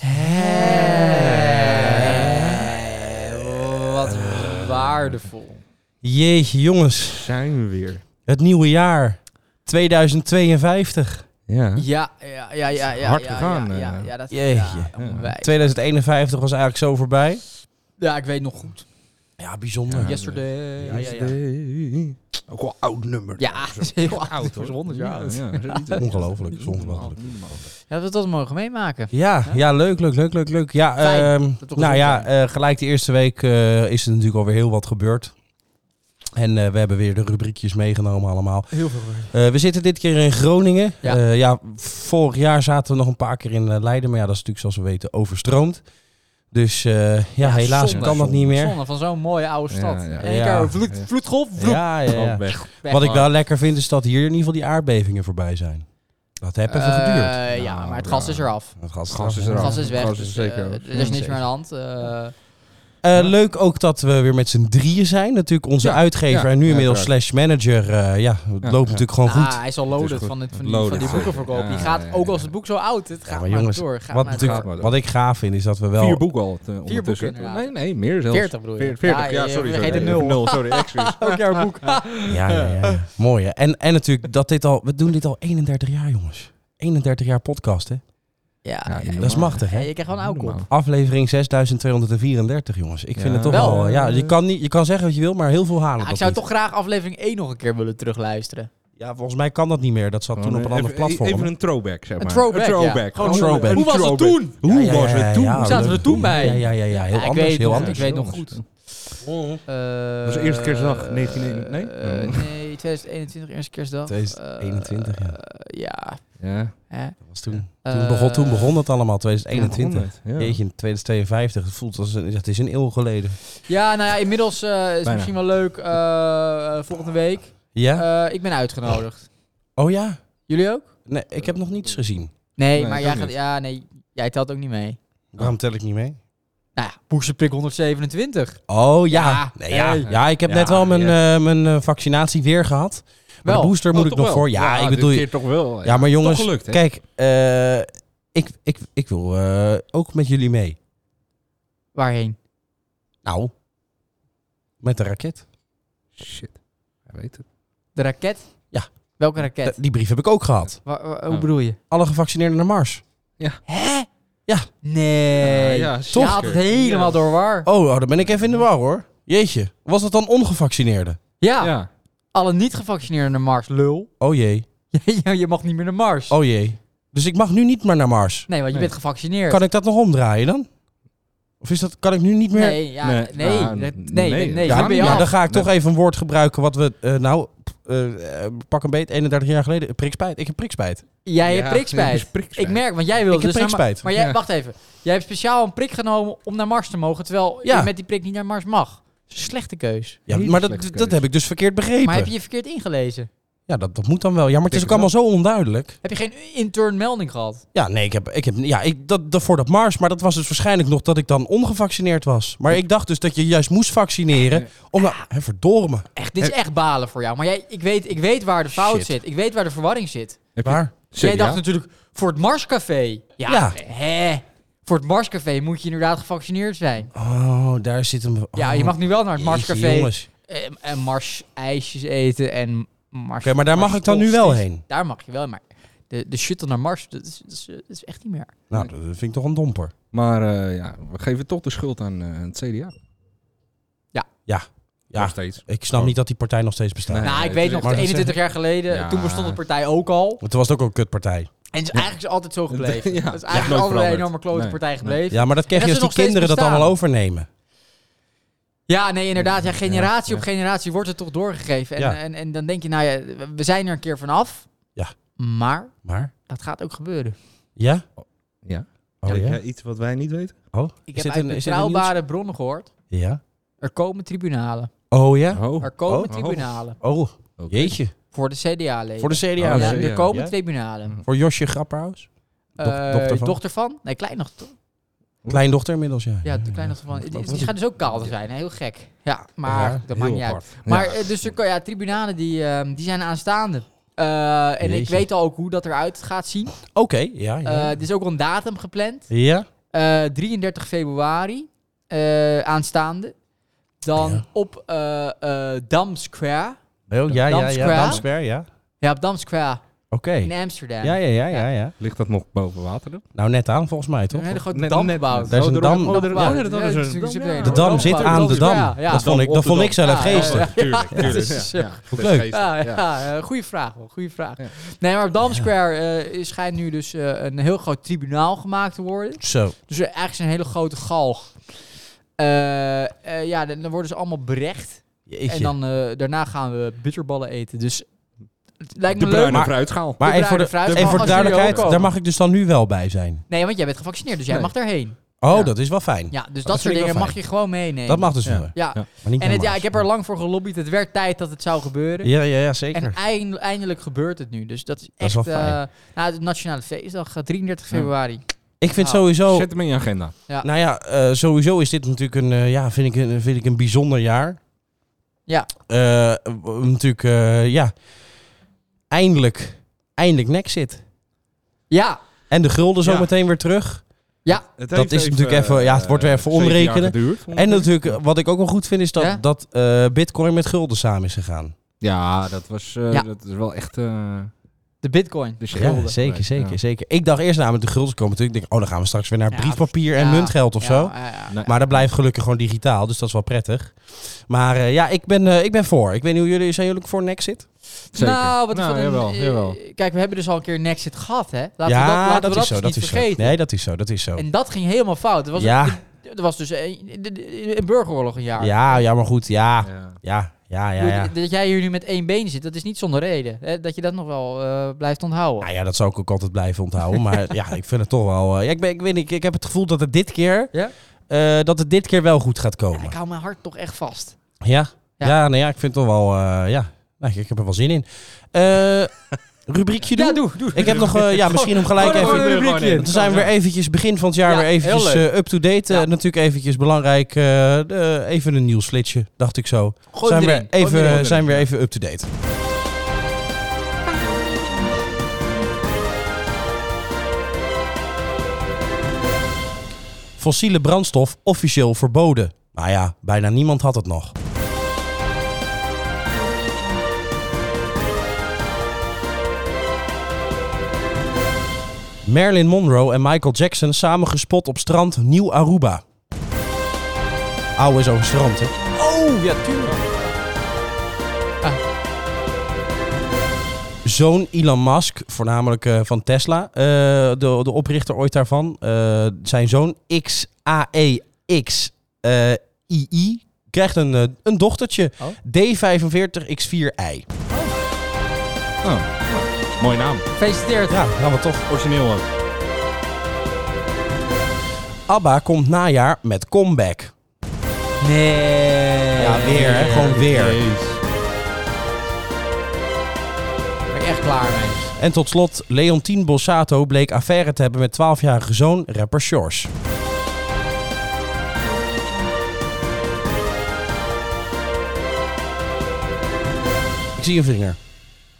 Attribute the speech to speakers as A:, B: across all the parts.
A: Eh, Waardevol.
B: Jeetje, jongens.
C: Zijn we weer.
B: Het nieuwe jaar. 2052.
C: Ja.
A: Ja, ja, ja, ja. ja
C: Hard
A: ja,
C: gegaan,
A: Ja,
C: eh.
A: ja, ja, dat,
B: Jeetje.
A: Ja, onwijs.
B: 2051 was eigenlijk zo voorbij.
A: ja, ik weet nog goed.
B: Ja, bijzonder.
C: Ja.
A: Yesterday. Ja, ja, ja.
C: Ook wel oud nummer.
A: Ja, dat is heel oud hoor.
C: is 100 jaar oud.
B: Ongelooflijk, is ongelooflijk.
A: Ja, dat we dat mogen meemaken.
B: Ja, ja, leuk, leuk, leuk, leuk, leuk. Ja,
A: Fijn.
B: ehm,
A: toch
B: nou
A: gezond
B: ja, eh, gelijk de eerste week eh, is er natuurlijk alweer heel wat gebeurd. En eh, we hebben weer de rubriekjes meegenomen allemaal.
A: Heel veel.
B: Eh, we zitten dit keer in Groningen.
A: Ja.
B: Ja. ja, vorig jaar zaten we nog een paar keer in eh, Leiden. Maar ja, dat is natuurlijk zoals we weten overstroomd. Dus eh, ja, helaas
A: zonde.
B: kan dat niet meer.
A: Zonde van zo'n mooie oude
C: Ja,
A: stad.
C: ja.
A: En ik
B: Ja.
A: heb vloed, vloedgolf, vloed.
B: Ja, ja, ja.
A: Weg,
B: Wat ik
A: man.
B: wel lekker vind is dat hier in ieder geval die aardbevingen voorbij zijn. Dat heeft even
A: Eh,
B: geduurd.
A: ja,
C: Nou,
A: maar het
C: ja.
A: gas is eraf.
B: Het gas,
C: gas
B: eraf.
C: is
A: Het
C: eraf.
A: gas is weg.
C: Gas
A: dus,
C: is zeker
A: eh,
C: af.
A: er is niks
C: Zeker.
A: meer aan de hand. eh,
B: Eh, Leuk ook dat we weer met z'n drieën zijn. Natuurlijk onze
C: Ja,
B: uitgever
C: ja,
B: en nu inmiddels
C: uiteraard.
B: slash manager. eh, ja, het
C: Ja,
B: loopt
C: ja.
B: natuurlijk gewoon
A: ah,
B: goed.
A: hij is al
C: Het
A: loaded
C: is goed.
A: van, dit, van,
C: Het
A: die,
C: loaded,
A: van die
C: ja.
A: boekenverkoop. die
C: Ja,
A: gaat,
C: ja,
A: ook
C: ja.
A: als het boek zo oud het gaat
B: maar
A: maar,
B: jongens,
A: door. Gaat
B: Wat,
A: maar
B: natuurlijk,
A: door.
C: door.
B: wat ik gaaf vind is dat we wel...
C: Vier boeken al eh, ondertussen.
A: boeken,
C: nee,
A: inderdaad.
C: nee, meer zelfs.
A: 40 bedoel je?
C: 40, ja,
A: Ja, je
C: sorry.
A: vergeet
C: sorry.
A: de nul.
C: sorry, excuus.
A: Elk jaar een boek.
B: Ja, ja, ja, ja. mooi. Hè? En, en natuurlijk dat dit al... We doen dit al 31 jaar, jongens. 31 jaar podcast, hè?
A: Ja,
C: Ja,
B: Dat is machtig,
A: ja,
B: hè?
A: je krijgt gewoon een oude kop.
B: Aflevering 6234, jongens. Ik vind
C: Ja.
B: het toch
A: Wel,
B: wel... ja,
C: eh,
B: je, kan niet, je kan zeggen wat je wil, maar heel veel halen.
A: Ja, ik
B: dat
A: zou
B: niet.
A: toch graag aflevering 1 nog een keer willen terugluisteren.
B: Ja, volgens mij kan dat niet meer. Dat zat toen op een ander platform.
C: Oh, Even een throwback, zeg maar.
A: throwback, ja. Gewoon
C: Gewoon
B: throwback.
C: een
A: Hoe was het
C: throwback.
A: toen?
B: Ja,
C: Hoe
B: ja,
C: was
B: ja,
C: het toen?
B: ja,
A: Hoe zaten we er toen bij?
B: Ja, ja, ja, ja. heel
A: Ja, ik
B: anders.
A: weet
B: Heel
A: nog,
B: anders.
A: Ik weet
C: heel
A: nog
C: anders.
A: goed.
B: Oh.
A: Dat
C: was de eerste kerstdag, 19 nee? Oh.
A: Eh, nee, 2021, eerste kerstdag.
B: 2021, ja.
A: Eh, ja.
C: Ja.
A: hè?
B: Dat was toen.
A: Eh,
B: toen, begon, toen begon het allemaal, 2021.
C: Ja.
B: Jeetje, 2052. Het voelt als een, het is een eeuw geleden.
A: Ja, nou ja, inmiddels eh, is het
C: Bijna.
A: misschien wel leuk. eh, eh, volgende week.
B: Ja?
A: Eh, ik ben uitgenodigd.
B: oh ja?
A: Jullie ook?
B: Nee, ik heb nog niets gezien.
A: Nee,
C: Nee,
A: maar
C: ik
A: jij
C: ook
A: gaat.
C: niet.
A: Ja, nee, jij telt ook niet mee.
B: Waarom tel ik niet mee?
A: Nou ja, Boesterprik 127.
B: Oh ja.
A: Ja,
B: nee, ja.
A: hey.
B: ja ik heb
C: Ja,
B: net wel mijn,
C: ja.
B: eh, mijn eh, vaccinatie weer gehad. Maar
A: Wel.
B: de booster moet
C: Oh,
B: ik
C: toch
B: nog
C: wel.
B: voor. Ja, ik
C: dit
B: bedoel...
C: keer toch wel.
B: Ja, maar jongens,
C: Toch gelukt, hè?
B: kijk. eh, ik, ik, ik wil eh, ook met jullie mee.
A: Waarheen?
B: Nou, met de raket.
C: Shit. Hij weet het.
A: De raket?
B: Ja.
A: Welke raket?
B: Eh, Die brief heb ik ook gehad.
A: Wa- wa- hoe
C: Oh.
A: bedoel je?
B: Alle gevaccineerden naar Mars.
A: Hè?
B: Ja.
A: Nee.
C: Ah, ja,
A: Je
C: zeker.
A: haalt het helemaal
C: Ja.
A: door war.
B: Oh, oh, dan ben ik even in de war hoor. Jeetje, was dat dan ongevaccineerden?
A: Ja.
C: Ja.
A: Alle niet gevaccineerden naar Mars, lul.
B: Oh jee,
A: je je mag niet meer naar Mars.
B: oh jee. Dus ik mag nu niet meer naar Mars.
A: Nee, want je
C: Nee.
A: bent gevaccineerd.
B: Kan ik dat nog omdraaien dan? Of is dat, kan ik nu niet meer...
A: Nee, ja, nee,
C: Nee.
A: nee,
C: Nou,
A: nee, nee,
C: nee,
A: nee,
C: dat
B: ja,
A: dan ben je
B: ja,
A: af.
B: dan ga ik
C: Nee.
B: toch even een woord gebruiken wat we... eh, nou, pff, eh, eh, pak een beet, 31 jaar geleden. Prikspijt, ik heb prikspijt.
A: Jij
C: Ja,
A: hebt prikspijt.
C: het is prikspijt.
A: Ik merk, want jij wilde
B: Ik heb
A: dus naar Ma-
B: prikspijt.
A: Maar jij,
C: Ja.
A: wacht even. Jij hebt speciaal een prik genomen om naar Mars te mogen, terwijl
B: Ja.
A: je met die prik niet naar Mars mag. Slechte keus.
B: Ja,
C: Hele
B: maar dat,
C: slechte
B: dat
C: keuze.
B: heb ik dus verkeerd begrepen.
A: Maar heb je je verkeerd ingelezen?
B: Ja, dat, dat moet dan wel. Ja, maar het is ook
C: Denk het
B: allemaal zo onduidelijk.
A: Heb je geen intern melding gehad?
B: Ja, nee, ik heb, ik heb ja, ik, dat, dat voor dat Mars, maar dat was dus waarschijnlijk nog dat ik dan ongevaccineerd was. Maar ik dacht dus dat je juist moest vaccineren om nou, hè, verdomme.
A: Echt, dit is echt balen voor jou. Maar jij, ik, weet, ik weet waar de fout
B: Shit.
A: zit. Ik weet waar de verwarring zit.
C: Heb je-
B: Waar?
A: Jij
C: CDA?
A: dacht natuurlijk, voor het Marscafé. Ja,
B: Ja.
A: hè? Voor het Marscafé moet je inderdaad gevaccineerd zijn.
B: Oh, daar zit hem. oh,
A: ja, je mag nu wel naar het
B: jeetje,
A: Marscafé
B: jongens. Oké,
A: en, en Mars ijsjes eten en Mars...
B: maar daar mag ik dan nu wel heen.
A: Daar mag je wel, maar de, de shuttle naar Mars, dat is, dat is, dat is echt niet meer.
B: Nou, dat vind ik toch een domper.
C: Maar eh, ja, we geven toch de schuld aan eh, het CDA.
A: Ja.
B: Ja. Ja.
C: Nog steeds.
B: Ik
A: Oh.
B: snap niet dat die partij nog steeds bestaat.
C: Nee.
B: Want
A: nou, ik
C: het
A: weet
C: is
A: nog,
B: echt-
A: 21 jaar geleden,
C: Ja.
A: toen bestond de partij ook al.
B: toen was het ook een kutpartij.
A: En het is eigenlijk is altijd zo gebleven.
C: Ja.
A: Het is
C: Ja,
A: eigenlijk
C: nooit
A: altijd een
C: veranderd.
A: enorme klote
C: Nee.
A: partij gebleven. Ja.
B: Ja, maar dat krijg
A: En
B: je
A: dat
B: als
A: ze
B: die
A: nog steeds
B: kinderen dat
A: bestaan.
B: allemaal overnemen.
A: nee, inderdaad. Ja, generatie
C: Ja.
A: op generatie wordt het toch doorgegeven. En,
B: Ja.
A: en, en dan denk je, nou ja, we zijn er een keer vanaf.
B: Ja.
A: Maar
B: Maar?
A: dat gaat ook gebeuren.
B: Ja?
C: Ja.
B: Oh ja?
C: eh, iets wat wij niet weten?
B: Oh?
A: Ik
B: Is
A: heb
B: dit
A: uit
B: een- is dit een
A: betrouwbare bronnen gehoord.
B: nieuws- Ja?
A: Er komen tribunalen.
B: Oh ja?
C: Oh,
A: Er komen
B: Oh.
A: tribunalen.
B: Oh,
C: oké.
B: jeetje.
A: Voor de CDA-leden.
B: Voor de CDA.
C: Oh,
A: Ja,
C: CDA.
A: er komen
B: Ja?
A: tribunalen.
B: Voor Josje Grapperhaus. Dok-
A: Eh,
B: dochter van?
A: dochter van? Nee, kleindochter.
B: Kleindochter inmiddels, ja.
A: Ja, de kleindochter van. Die, die
B: Wat-
A: gaat dus ook kaal te zijn, hè? heel gek. Ja, maar
B: Ja,
A: dat maakt niet uit. Maar eh, dus er, kan- ja, tribunalen die, ehm, die zijn aanstaande. Eh, en ik
B: Jeetje.
A: weet al ook hoe dat eruit gaat zien.
B: Oké, ja.
A: Eh,
B: Ja.
A: Er is ook al een datum gepland.
B: ja.
A: Eh, 33 februari eh, aanstaande. dan
B: Ja.
A: op eh, eh, Dam Square.
B: Oh, ja, ja,
A: Dam Square.
B: ja. Dam Square, ja.
A: Ja, op Dam Square
B: Oké.
A: in Amsterdam.
B: Ja, ja, ja, ja, ja.
C: Ligt dat nog boven water dan?
B: Nou, net aan volgens mij, toch?
A: Een hele grote
C: Net-
A: dam
C: net-
A: gebouwd.
B: Daar is een
C: Oh,
B: dam.
C: oh, er-
A: Gebouwd.
C: oh, er- dan
A: Ja,
C: is
A: het
C: een
A: is-
C: dam,
A: zit
C: ja.
A: er-
B: De dam
A: Dam
B: zit
A: gebouwd.
B: aan de dam.
A: Ja, ja.
B: Dat vond ik, dat vond ik zelf
A: Ja, ja,
B: geestig.
A: ja.
C: Tuurlijk, tuurlijk.
A: dat is,
C: ja.
A: eh,
C: Goed
A: Ja,
C: geestig,
A: ja,
C: ja.
A: eh, goede vraag wel, goede vraag.
C: Ja.
A: Nee, maar op Dam Square eh, schijnt nu dus eh, een heel groot tribunaal gemaakt te worden.
B: Zo.
A: Dus er eigenlijk is een hele grote galg. Eh, eh, ja, dan dan worden ze allemaal berecht. En dan eh, daarna gaan we bitterballen eten. Dus het lijkt me
C: De
A: leuk.
C: bruine
B: Maar-
C: fruitschaal.
B: maar
A: de
B: even voor de,
A: bruine fruit
B: even
A: mag
B: voor de
A: als jullie
B: duidelijkheid,
A: ook komen.
B: daar mag ik dus dan nu wel bij zijn.
A: Nee, want jij bent gevaccineerd, dus jij
C: Nee.
A: mag daarheen.
B: Oh,
C: Ja.
B: dat is wel fijn.
A: Ja, dus dat,
B: vind
A: soort
B: ik wel
A: dingen mag
B: fijn.
A: je gewoon meenemen.
B: Dat mag dus
C: Ja.
B: wel.
A: Ja,
B: Maar niet
A: en het,
B: naar
A: ja, ik
B: Mars.
A: heb er lang voor gelobbyd. Het werd tijd dat het zou gebeuren.
B: Ja, ja, ja, zeker.
A: En eind- eindelijk gebeurt het nu. Dus dat is
B: is
A: echt...
B: wel fijn.
A: eh, nou, het Nationale Feestdag, eh, 33
C: Ja.
A: februari.
B: ik vind
A: Nou,
B: sowieso...
C: Oh, Zet hem in je agenda.
B: Nou ja, eh, sowieso is dit natuurlijk een, eh, ja, vind ik een, vind ik een bijzonder jaar.
A: Ja.
B: Eh, w- natuurlijk, eh, ja. Eindelijk, eindelijk Nexit.
A: Ja,
B: En de gulden zo
C: Ja.
B: meteen weer terug.
C: dat
B: is natuurlijk
C: eh,
B: even- ja, het wordt weer even omrekenen. En natuurlijk, eh, wat ik ook wel goed vind, is dat,
A: Ja.
B: dat eh, Bitcoin met gulden samen is gegaan.
C: Ja, dat was eh,
A: Ja.
C: dat is wel echt eh
A: de bitcoin.
C: de schil.
B: Ja, zeker, zeker,
C: Ja.
B: zeker. Ik dacht eerst namelijk de gulden komen natuurlijk. Ik denk, oh, dan gaan we straks weer naar
A: Ja,
B: briefpapier en
A: ja,
B: muntgeld of
A: Ja,
B: zo.
A: ja, ja.
C: Nee.
B: Maar dat blijft gelukkig gewoon digitaal, dus dat is wel prettig. Maar eh, ja, ik ben, eh, ik ben voor. Ik weet niet hoe jullie, zijn jullie ook voor Nexit?
C: Zeker.
A: Nou, wat
C: Nou,
A: wat een,
C: jawel,
A: eh,
C: jawel.
A: Kijk, we hebben dus al een keer een Nexit gehad, hè? Laten
B: ja,
A: we dat, laten we
B: is zo,
A: dus
B: dat
A: niet
B: is zo.
A: vergeten.
B: Nee, dat is zo, dat is zo.
A: En dat ging helemaal fout. Er was,
B: Ja.
A: er was dus een, de- de- een burgeroorlog een jaar.
B: Ja, ja, maar goed, ja,
C: Ja.
B: ja, ja,
A: Ik
B: ja.
A: bedoel,
B: ja.
A: Dat jij hier nu met één been zit, dat is niet zonder reden. Hè? Dat je dat nog wel eh, blijft onthouden.
B: Nou ja, dat zou ik ook altijd blijven onthouden. Maar ja, ik vind het toch wel... eh, ja, ik, ben, ik weet niet, ik heb het gevoel dat het dit keer...
A: Ja?
B: eh, dat het dit keer wel goed gaat
A: Ja,
B: komen.
A: ik hou mijn hart toch echt vast.
B: Ja, ja.
A: Ja.
B: nou ja, ik vind het toch wel... eh, ja, nou, ik, ik heb er wel zin in. Eh, rubriekje doen?
A: Ja, doe, doe.
B: Ik heb nog, eh, ja, misschien om gelijk
A: Gewoon-
B: even...
A: gewoon een
C: even-
A: rubriekje.
B: Dan zijn we weer eventjes begin van het jaar
A: Ja,
B: weer eventjes
A: heel leuk.
B: eh, up-to-date. Eh,
A: Ja.
B: natuurlijk eventjes belangrijk. eh, de- even een nieuwsflitsje, dacht ik zo.
A: Gooi
B: zijn
A: hem
B: we
A: erin. Gooi hem
B: even,
A: erin, gooi hem
B: zijn weer
A: erin.
B: even up-to-date. Fossiele brandstof officieel verboden. Nou ja, bijna niemand had het nog. Marilyn Monroe en Michael Jackson samen gespot op strand Nieuw Aruba. Oude is over strand, hè?
A: Oh, ja, tuurlijk.
B: zoon Elon Musk, voornamelijk eh, van Tesla, eh, de, de oprichter ooit daarvan, eh, zijn zoon XAEX eh, II krijgt een, eh, een dochtertje,
A: Oh.
B: D45X4i.
C: Oh, nou, Mooie naam.
A: Gefeliciteerd.
B: Ja, nou wat toch.
C: Origineel ook.
B: ABBA komt najaar met comeback.
A: Nee.
B: Ja, weer, hè? Gewoon weer.
C: Jeez.
A: Ik ben echt klaar mee.
B: En tot slot, Leontien Bossato bleek affaire te hebben met 12-jarige zoon rapper Shores. Ik zie een vinger.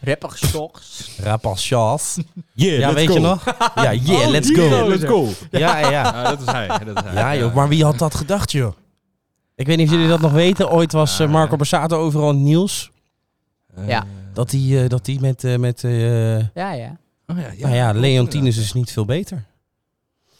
A: Rappig stocks.
B: Rapper Shores.
C: Yeah,
B: ja,
C: let's
B: weet
C: go.
B: je nog? Ja, yeah,
C: Oh,
B: let's
C: yeah,
B: go.
C: let's go.
B: Ja, ja.
C: Ja, dat is hij. Dat is hij.
B: Ja, joh, maar wie had dat gedacht, joh? Ik weet niet of jullie dat nog weten. Ooit was eh, Marco Borsato overal in het nieuws.
C: Eh,
A: Ja.
B: Dat hij eh, dat die met, eh, met eh,
A: Ja, ja.
C: Oh, ja, ja.
B: nou ja, Leontine is dus niet veel beter.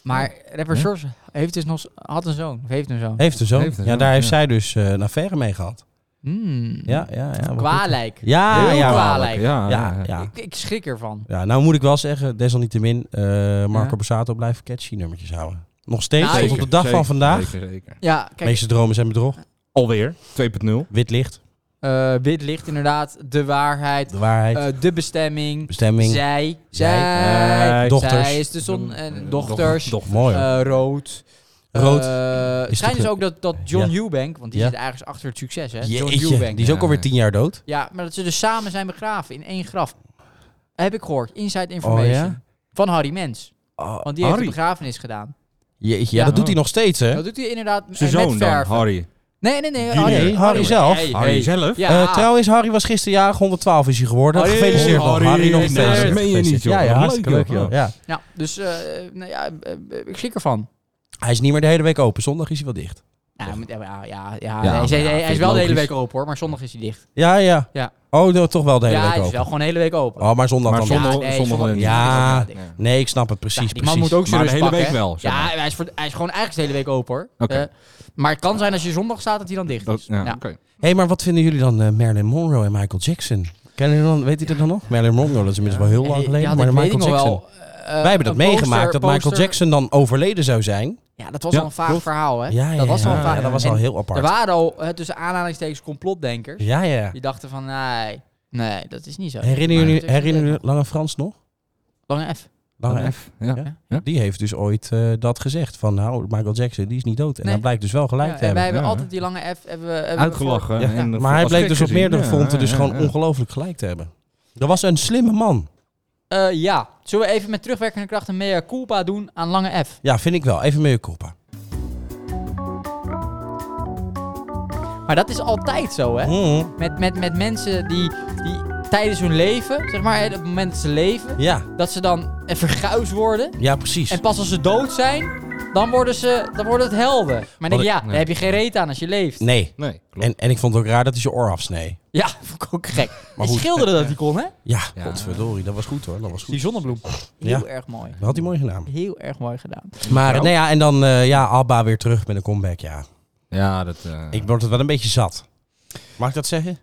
A: Maar rapper
C: Ja.
A: George heeft dus nog, had een zoon. Of heeft een zoon.
B: Heeft er zo.
C: Heeft een
B: Ja,
C: zoon,
B: daar heeft
C: ja.
B: zij dus eh, een affaire mee gehad.
A: Hmm.
B: Ja, ja, ja. wat goed.
A: Kwalijk.
B: Ja,
A: Heel
B: ja,
A: kwalijk.
C: Ah, Ja,
B: Ja, ja.
A: Ik, ik schrik ervan.
B: Ja, nou moet ik wel zeggen, desalniettemin, eh, Marco
A: Ja.
B: Borsato blijft catchy nummertjes houden. Nog steeds,
A: Nou,
B: tot op de dag
C: zeker,
B: van vandaag.
C: Zeker, zeker.
A: Ja,
B: De
A: kijk,
B: meeste dromen zijn bedrog.
C: Alweer. 2.0.
B: Wit licht,
A: eh, wit licht inderdaad, de waarheid,
B: de waarheid,
A: eh, de bestemming,
B: bestemming.
A: zij,
B: Zij.
A: zij,
C: Eh,
B: dochters.
A: zij is de zon en
C: Eh,
A: dochters,
C: doch- dochters.
B: Mooi. hoor.
A: eh, rood.
B: Rood
A: Eh,
B: is
A: schijnt
B: toch-
A: dus ook dat, dat John Eubank, want die
B: Ja.
A: zit ergens achter het succes, hè? John
B: Jeetje,
A: Eubank.
B: die is ook
C: Ja.
B: alweer tien jaar dood.
A: Ja, maar dat ze dus samen zijn begraven in één graf. Heb ik gehoord, inside information.
B: Oh, ja?
A: Van Harry Mens,
B: Oh,
A: want die heeft
C: Harry?
A: de begrafenis gedaan.
B: Jeetje, ja,
A: Ja.
B: dat doet hij nog steeds, hè?
A: Dat doet hij inderdaad eh,
C: Zijn
A: met
C: zoon dan,
A: verven.
C: Harry.
A: Nee, nee, nee.
B: Nee, Harry zelf.
A: Hey,
C: Harry
A: hey.
C: zelf?
A: Ja.
B: Eh, trouwens, Harry was gisteren jarig, 112 is hij geworden.
A: Harry,
B: Gefeliciteerd nog, Harry,
C: Harry,
B: nog
C: nee,
B: steeds.
C: dat meen je niet, joh.
B: Ja, ja,
C: Leuk,
B: hartstikke leuk,
C: joh.
B: joh. Ja.
A: Ja, dus eh, nou ja, eh, eh, ik schrik ervan.
B: Hij is niet meer de hele week open, zondag is hij wel dicht.
A: Ja, maar- ja, ja, ja, ja,
C: Ja,
A: hij, is,
C: ja,
A: hij- hij
C: vind
A: is
C: ik
A: wel de hele
C: logisch.
A: week open hoor, maar zondag is hij dicht.
B: Ja, ja.
A: Ja.
B: Oh, dat toch wel de hele
A: ja,
B: week
A: hij is
B: open.
A: wel gewoon de hele week open.
B: Oh, maar zondag
C: Maar
B: dan.
A: Ja,
C: zondag-
A: nee,
C: zondag
A: zondag
C: alleen.
A: is
B: Ja,
A: hij dicht.
C: Ja.
B: Nee, ik snap het
A: Ja,
B: precies.
A: die man
B: precies.
A: moet ook zijn
C: Maar de
A: rust
C: hele week
A: pakken, hè?
C: wel, zeg
A: Ja,
C: maar.
A: hij is, voor, hij is gewoon eigenlijk de hele week open hoor.
C: Oké.
A: Eh, maar het kan zijn als je zondag staat dat hij dan dicht
C: Dat,
A: is.
C: ja,
A: Ja.
C: oké.
B: Hé, maar wat vinden jullie dan eh, Marilyn Monroe en Michael Jackson? Kennen jullie dan, weet je dat dan nog? Marilyn Monroe, dat is inmiddels wel heel
A: En
B: lang
A: die- die
B: geleden. Maar
A: had ik-
B: Michael
A: weet ik nog
B: Jackson.
A: wel, eh,
B: Wij hebben dat
A: een poster-
B: meegemaakt dat Michael
A: poster-
B: Jackson dan overleden zou zijn.
A: Ja, dat was
C: Ja,
A: al een vaag
C: klopt.
A: verhaal, hè?
B: Ja, ja,
A: dat was
B: ja,
A: al een vaag
B: ja, dat was
A: en
B: al heel
A: Er
B: apart.
A: waren al hè, tussen aanhalingstekens complotdenkers.
B: Ja, ja.
A: Die dachten van, nee, nee, dat is niet zo.
B: Herinneren
A: Maar-
B: jullie, herinneren jullie Lange Frans nog?
A: Lange F.
B: Lange
C: Dan
B: F.
C: F, ja.
B: Ja. Die heeft dus ooit eh, dat gezegd. Van nou, Michael Jackson, die is niet dood. En
A: Nee.
B: dat blijkt dus wel gelijk
A: Ja,
B: te
A: en wij
B: hebben.
A: hebben
C: Ja,
A: altijd die lange F hebben we- hebben we
C: Uitgelachen.
B: Ja.
C: en, eh,
B: Maar hij
C: als
B: bleek
C: gek
B: dus op
C: gezien.
B: meerdere
C: Ja,
B: fronten dus
C: ja,
B: gewoon
C: ja.
B: ongelooflijk gelijk te hebben. Dat was een slimme man.
A: voor- Eh, ja, zullen we even met terugwerkende kracht een mea culpa doen aan lange F?
B: Ja, vind ik wel. Even mee koppen.
A: Maar dat is altijd zo, hè?
B: Mm.
A: Met, met, met mensen die, die tijdens hun leven, zeg maar, hè, op het moment dat ze leven,
B: Ja,
A: dat ze dan eh, verguisd worden.
B: ja, precies.
A: En pas als ze dood zijn, dan worden, ze, dan worden het helden. Maar dan denk ik, ja,
B: ik-
A: daar heb je geen reet aan als je leeft.
B: Nee.
C: Nee, klopt.
B: En, en ik vond het ook raar dat hij zijn oor afsnee.
A: Ja, vond ik ook gek. Maar
B: goed.
A: schilderde dat hij kon, hè?
B: Ja,
C: Ja.
B: godverdorie. Dat was goed hoor. Dat was goed.
A: Die zonnebloem. Heel erg mooi.
B: Dat had hij mooi gedaan.
A: Heel erg mooi gedaan.
B: Maar eh, nou ja, en dan eh, ja, Abba weer terug met een comeback. Ja,
C: Ja, dat... eh,
B: ik word het wel een beetje zat. Mag ik dat zeggen?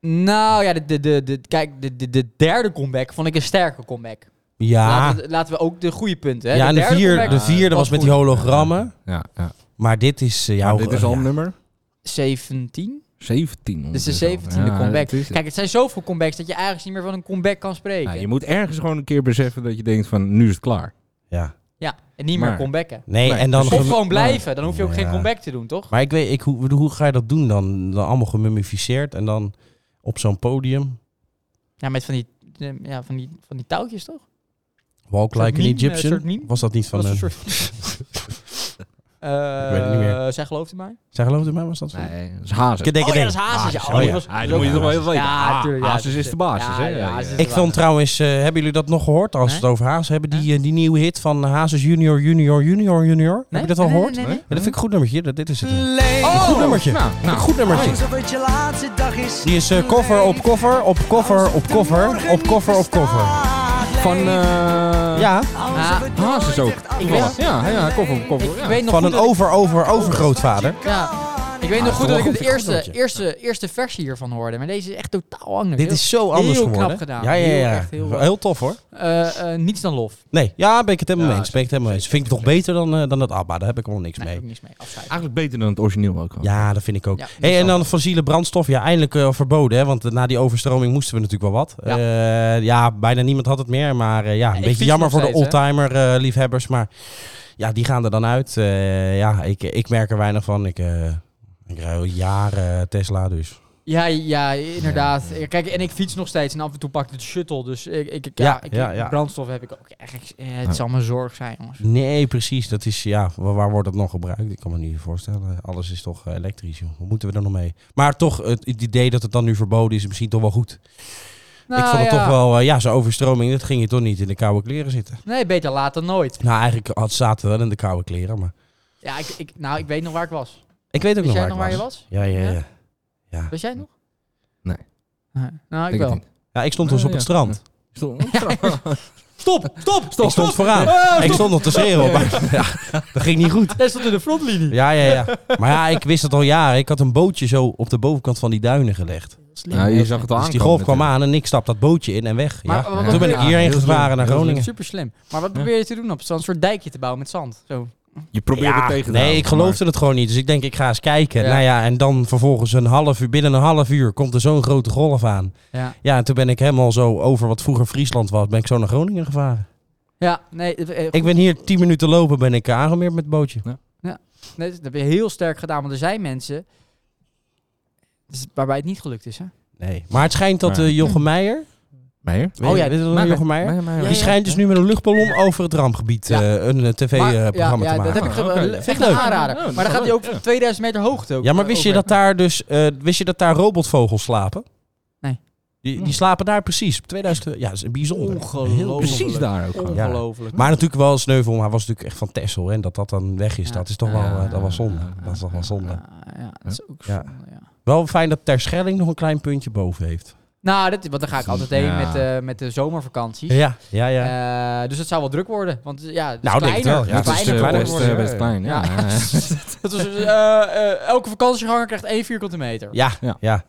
A: Nou ja, de, de, de, de- kijk, de, de, de derde comeback vond ik een sterke comeback.
B: Ja.
A: Laten, we, laten we ook de goede punten. Hè?
B: Ah. Ja, en de,
A: derde
B: vier,
A: comeback
B: de vierde
A: was
B: was met
A: goed.
B: die hologrammen.
C: ja, ja.
B: Maar dit is... eh, ja,
C: Maar dit is al
B: ja.
C: nummer
A: 17.
C: 17.
A: Dus de
C: ondertussen al.
A: 17e
C: Oh, Ja,
A: comeback.
C: dat is het.
A: Kijk, het zijn zoveel comebacks dat je eigenlijk niet meer van een comeback kan
C: Ja,
A: spreken. Ja,
C: je moet ergens gewoon een keer beseffen dat je denkt van, nu is het klaar.
B: Ja.
A: en niet meer
C: Maar-
A: comebacken.
B: Nee,
C: Nee,
B: en dan...
A: Of
C: gem-
A: gewoon dus blijven. Dan hoef je ook geen
B: Ja.
A: comeback te doen, toch?
B: Maar ik weet, ik, hoe, hoe ga je dat doen dan? dan allemaal gemummificeerd en dan op zo'n podium.
A: Ja, met van die, eh, ja, van die, van die touwtjes, toch?
B: Walk
A: Soort
B: like an
A: meme, eh,
B: Egyptian.
A: soort meme?
B: Was dat niet van...
A: Dat
B: eh,
A: is een soort... Eh,
B: Ik weet het niet meer.
A: Zij geloofde mij.
B: zij geloofde mij, was dat van?
C: Nee, dat is hazen.
B: Kedek,
A: oh ja,
B: kedek.
A: dat is Hazes.
C: Hazes,
A: Ja,
B: oh
A: oh,
B: ja.
A: die was- die
C: Ja, dat
A: was
C: moet je
A: ook-
C: toch wel even weten.
A: Ja,
C: Ha-
A: tuurlijk, ja,
C: Hazes
A: dat
C: is de basis,
A: ja,
C: hè?
A: ja,
C: Ja,
A: Hazes
C: ja.
A: is de
B: Ik vond
A: baas.
B: trouwens, eh, hebben jullie dat nog gehoord? Als we het
A: Nee?
B: over Haas hebben, die, eh, die nieuwe hit van Hazes Junior, Junior, Junior, Junior. Heb je dat al
A: Nee, nee,
B: gehoord?
A: nee, nee, nee.
B: Ja, dat vind ik een goed nummertje. Dat, dit is het.
A: Oh,
B: goed nummertje.
C: Nou, nou,
B: Goed nummertje.
D: Alsof het je laatste dag is.
B: Die is eh, cover op cover, op cover, op cover, op cover, op cover.
C: van... eh,
B: Ja,
A: Ah,
C: Hazes ook.
A: Ik weet-
C: Ja, ja, koffer,
A: Ik,
C: koffer.
A: ik
C: Oh, ja.
A: weet nog
B: van
A: goed
B: een
A: dat ik-
B: over, over, overgrootvader.
A: ja, ik weet nog
B: Ah,
A: goed
B: wel
A: dat ik de
B: goed, vind ik goed
A: eerste,
B: nummertje.
A: eerste, eerste versie hiervan hoorde. Maar deze is echt totaal anders.
B: Dit
A: Heel-
B: is zo anders
A: heel knap
B: geworden.
A: gedaan.
B: Ja, ja,
A: Heel
B: ja.
A: echt heel-
B: Heel, tof hoor.
A: Eh, eh, niets dan lof.
B: Nee, ja, ben ik het helemaal
C: Ja,
B: mee eens. Ben ik het helemaal mee eens. Vind ik het toch beter dan, eh, dan dat ABBA. Daar heb ik wel niks
A: Nee,
B: mee. Ah.
A: ook niks mee. Afschrijven.
C: Eigenlijk beter dan het origineel ook. al.
B: Ja, dat vind ik ook.
A: Ja, dat
B: hey,
A: is
B: en
A: wel
B: dan fossiele brandstof. Ja, eindelijk eh, verboden. Hè? Want eh, na die overstroming moesten we natuurlijk wel wat.
A: Ja.
B: Ja, ja bijna niemand had het meer. Maar eh, ja, een
A: ik
B: beetje
A: vis
B: jammer
A: nog
B: voor de
A: steeds, hè.
B: oldtimer eh, liefhebbers. Maar ja, die gaan er dan uit. Eh, ja, ik, ik merk er weinig van. Ik, eh ik rij al jaren Tesla dus.
A: Ja, ja, inderdaad. Kijk, en ik fiets nog steeds en af en toe pak ik de shuttle. Dus ik, ik, ik- ja,
B: Ja,
A: ik,
B: ja, ja.
A: brandstof heb ik ook echt. eh, het
C: Ja.
A: zal mijn zorg zijn, jongens.
B: Nee, precies. Dat is, ja, wa- waar, wordt het nog gebruikt? Ik kan me niet voorstellen. Alles is toch eh, elektrisch. Joh. Hoe moeten we er nog mee? Maar toch, het, het idee dat het dan nu verboden is, is misschien toch wel goed.
A: Nou
B: ik vond het toch wel, eh, ja, zo'n overstroming, dat ging je toch niet in de koude kleren zitten.
A: Nee, beter laat dan nooit.
B: Nou, eigenlijk had, zaten we wel in de koude kleren, maar...
A: Ja, ik, ik, nou, ik weet nog waar ik was.
B: Ik weet ook
A: Wist
B: nog
A: jij
B: waar,
A: nog
B: ik
A: waar je
B: was.
A: was?
B: Ja, ja, ja,
A: Ja?
B: ja.
A: Weet jij nog?
C: Nee.
A: Nee. Nou, ik
C: Denk het
A: wel.
C: niet.
B: ik stond dus
C: Ja,
B: op het
C: ja.
B: strand.
C: Is toch-
A: Stop, stop, stop.
B: Ik stond
A: stop.
B: vooraan.
A: Eh,
B: ik
A: stop.
B: stond nog te schreeuwen, maar ja, dat ging niet goed.
A: Hij stond in de frontlinie.
B: Ja, ja, ja. Maar ja, ik wist het al jaren. Ik had een bootje zo op de bovenkant van die duinen gelegd.
A: Slim.
C: Ja, je zag het al
B: Dus die golf
C: aankomen
B: kwam
C: natuurlijk.
B: aan en ik stap dat bootje in en weg.
A: Maar
B: ja.
A: wat- wat
B: Toen ben ik
A: doe je-
B: hierheen
C: Heel slim,
B: gevaren naar
C: heel slim.
B: Groningen.
A: Super slim. Maar wat probeer je te doen op zo'n soort dijkje te bouwen met zand? Zo.
C: Je probeert het
B: Ja,
C: tegen te
B: Nee,
C: houden,
B: ik geloofde het gewoon niet. Dus ik denk, ik ga eens kijken.
A: Ja.
B: Nou ja, en dan vervolgens een half uur, binnen een half uur, komt er zo'n grote golf aan.
A: Ja.
B: Ja, en toen ben ik helemaal zo over wat vroeger Friesland was, ben ik zo naar Groningen gevaren.
A: Ja, nee, eh, eh,
B: Ik ben hier tien minuten lopen, ben ik eh, aangemeerd met het bootje.
A: nee, dat heb je heel sterk gedaan, want er zijn mensen dus waarbij het niet gelukt is, hè?
B: Nee. Maar het schijnt dat
C: Nee.
B: eh Jochem Meijer,
C: Maar... Nee,
B: weet je-
A: Oh ja,
B: weet je dat nog,
A: Meijer.
B: Jochem Meijer?
C: maar- maar-
A: Ja,
B: Die schijnt dus nu met een luchtballon over het rampgebied
A: Ja.
B: eh, een
A: Maar-
B: tv-programma
A: ja, ja, dat
B: te maken.
A: heb ik
C: Ah, oké.
A: ge-
C: Vind
A: echt
B: ik
A: een
B: leuk.
A: aanrader.
C: Ja, dat is
A: maar dan
C: wel
A: gaat hij ook
C: leuk, ja.
A: op 2000 meter hoogte. Ook,
B: Ja, maar
A: eh,
B: wist je
A: over.
B: dat daar dus eh, wist je dat daar robotvogels slapen?
A: Nee.
B: Die,
C: Hm.
B: die slapen daar precies. 2000, ja, dat is bijzonder.
A: Ongelooflijk.
B: Heel bijzonder.
C: Precies daar ook gewoon.
B: Ja.
A: Ongelooflijk.
B: Maar natuurlijk wel sneuvel, maar hij was natuurlijk echt van Texel. En dat dat dan weg is,
A: Ja.
B: dat is toch wel, eh, dat was zonde. Dat is toch wel zonde.
A: Ah, Ja, ja, dat is ook
B: Ja.
A: zonde, ja.
B: Wel fijn dat Terschelling nog een klein puntje boven heeft.
A: Nou, dat, want daar ga ik altijd heen
C: Ja.
A: met, eh, met de zomervakanties.
B: Ja, ja, ja.
A: Eh, dus het zou wel druk worden. Want eh, ja, het is
B: Nou, denk
A: kleiner.
B: het wel, ja.
A: Het is
B: Het is, eh,
A: kleiner geworden.
B: kleiner
C: best, eh, best klein. Ja.
A: Ja. Dat was, eh, eh, elke vakantieganger krijgt één vierkante meter.
B: Ja, ja.
C: Ja.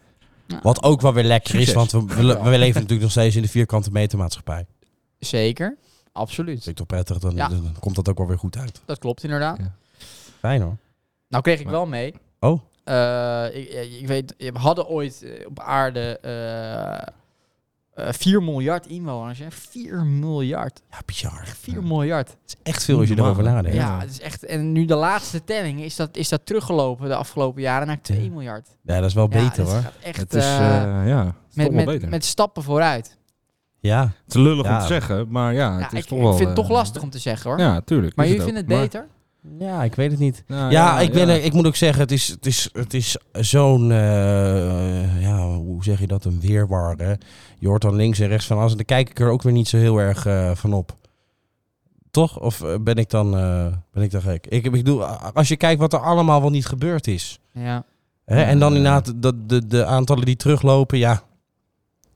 B: Wat ook wel weer lekker is,
C: Succes.
B: want we, we, we leven natuurlijk nog steeds in de vierkante meter maatschappij. Dat
A: Zeker. Absoluut.
B: vind ik toch prettig, dan,
A: Ja.
B: dan komt dat ook wel weer goed uit.
A: Dat klopt inderdaad.
C: Ja.
B: Fijn hoor.
A: Nou kreeg ik
C: Maar-
A: wel mee.
B: Oh.
A: Eh, ik, eh, ik weet, we hadden ooit eh, op aarde eh, eh, 4 miljard inwoners. Hè? 4 miljard.
B: Ja, bizar.
A: 4 miljard.
B: Het is echt veel als je erover
C: Normaal.
B: nadenkt. Ja.
A: Ja, het is echt. En nu de laatste telling is dat, is dat teruggelopen de afgelopen jaren naar 2 miljard.
B: dat is wel
A: Ja,
B: beter
A: het
B: hoor.
A: gaat echt
C: Het is,
A: eh,
C: eh, ja, het is
A: met,
C: toch wel
A: met,
C: beter.
A: met stappen vooruit.
B: Ja.
C: Het is lullig
B: Ja.
C: om te zeggen, maar ja,
A: Ja,
C: het is
A: ik,
C: toch
A: ik
C: wel...
A: vind het
C: eh,
A: toch lastig om te zeggen hoor.
C: Ja, tuurlijk.
A: maar
C: is
A: jullie
C: ook.
A: vinden het
C: Maar-
A: beter?
B: ja, ik weet het niet.
C: Nou,
B: Ja, ik, ben,
C: ja.
B: er- ik moet ook zeggen, het is, het is, het is zo'n, eh, ja, hoe zeg je dat, een weerwar. Hè? Je hoort dan links en rechts van alles en dan kijk ik er ook weer niet zo heel erg eh, van op. Toch? Of eh, ben ik dan, eh, ben ik dan gek? Ik, ik bedoel, a- als je kijkt wat er allemaal wel niet gebeurd is.
A: Ja.
B: Hè? En dan inderdaad de, de, de aantallen die teruglopen, ja.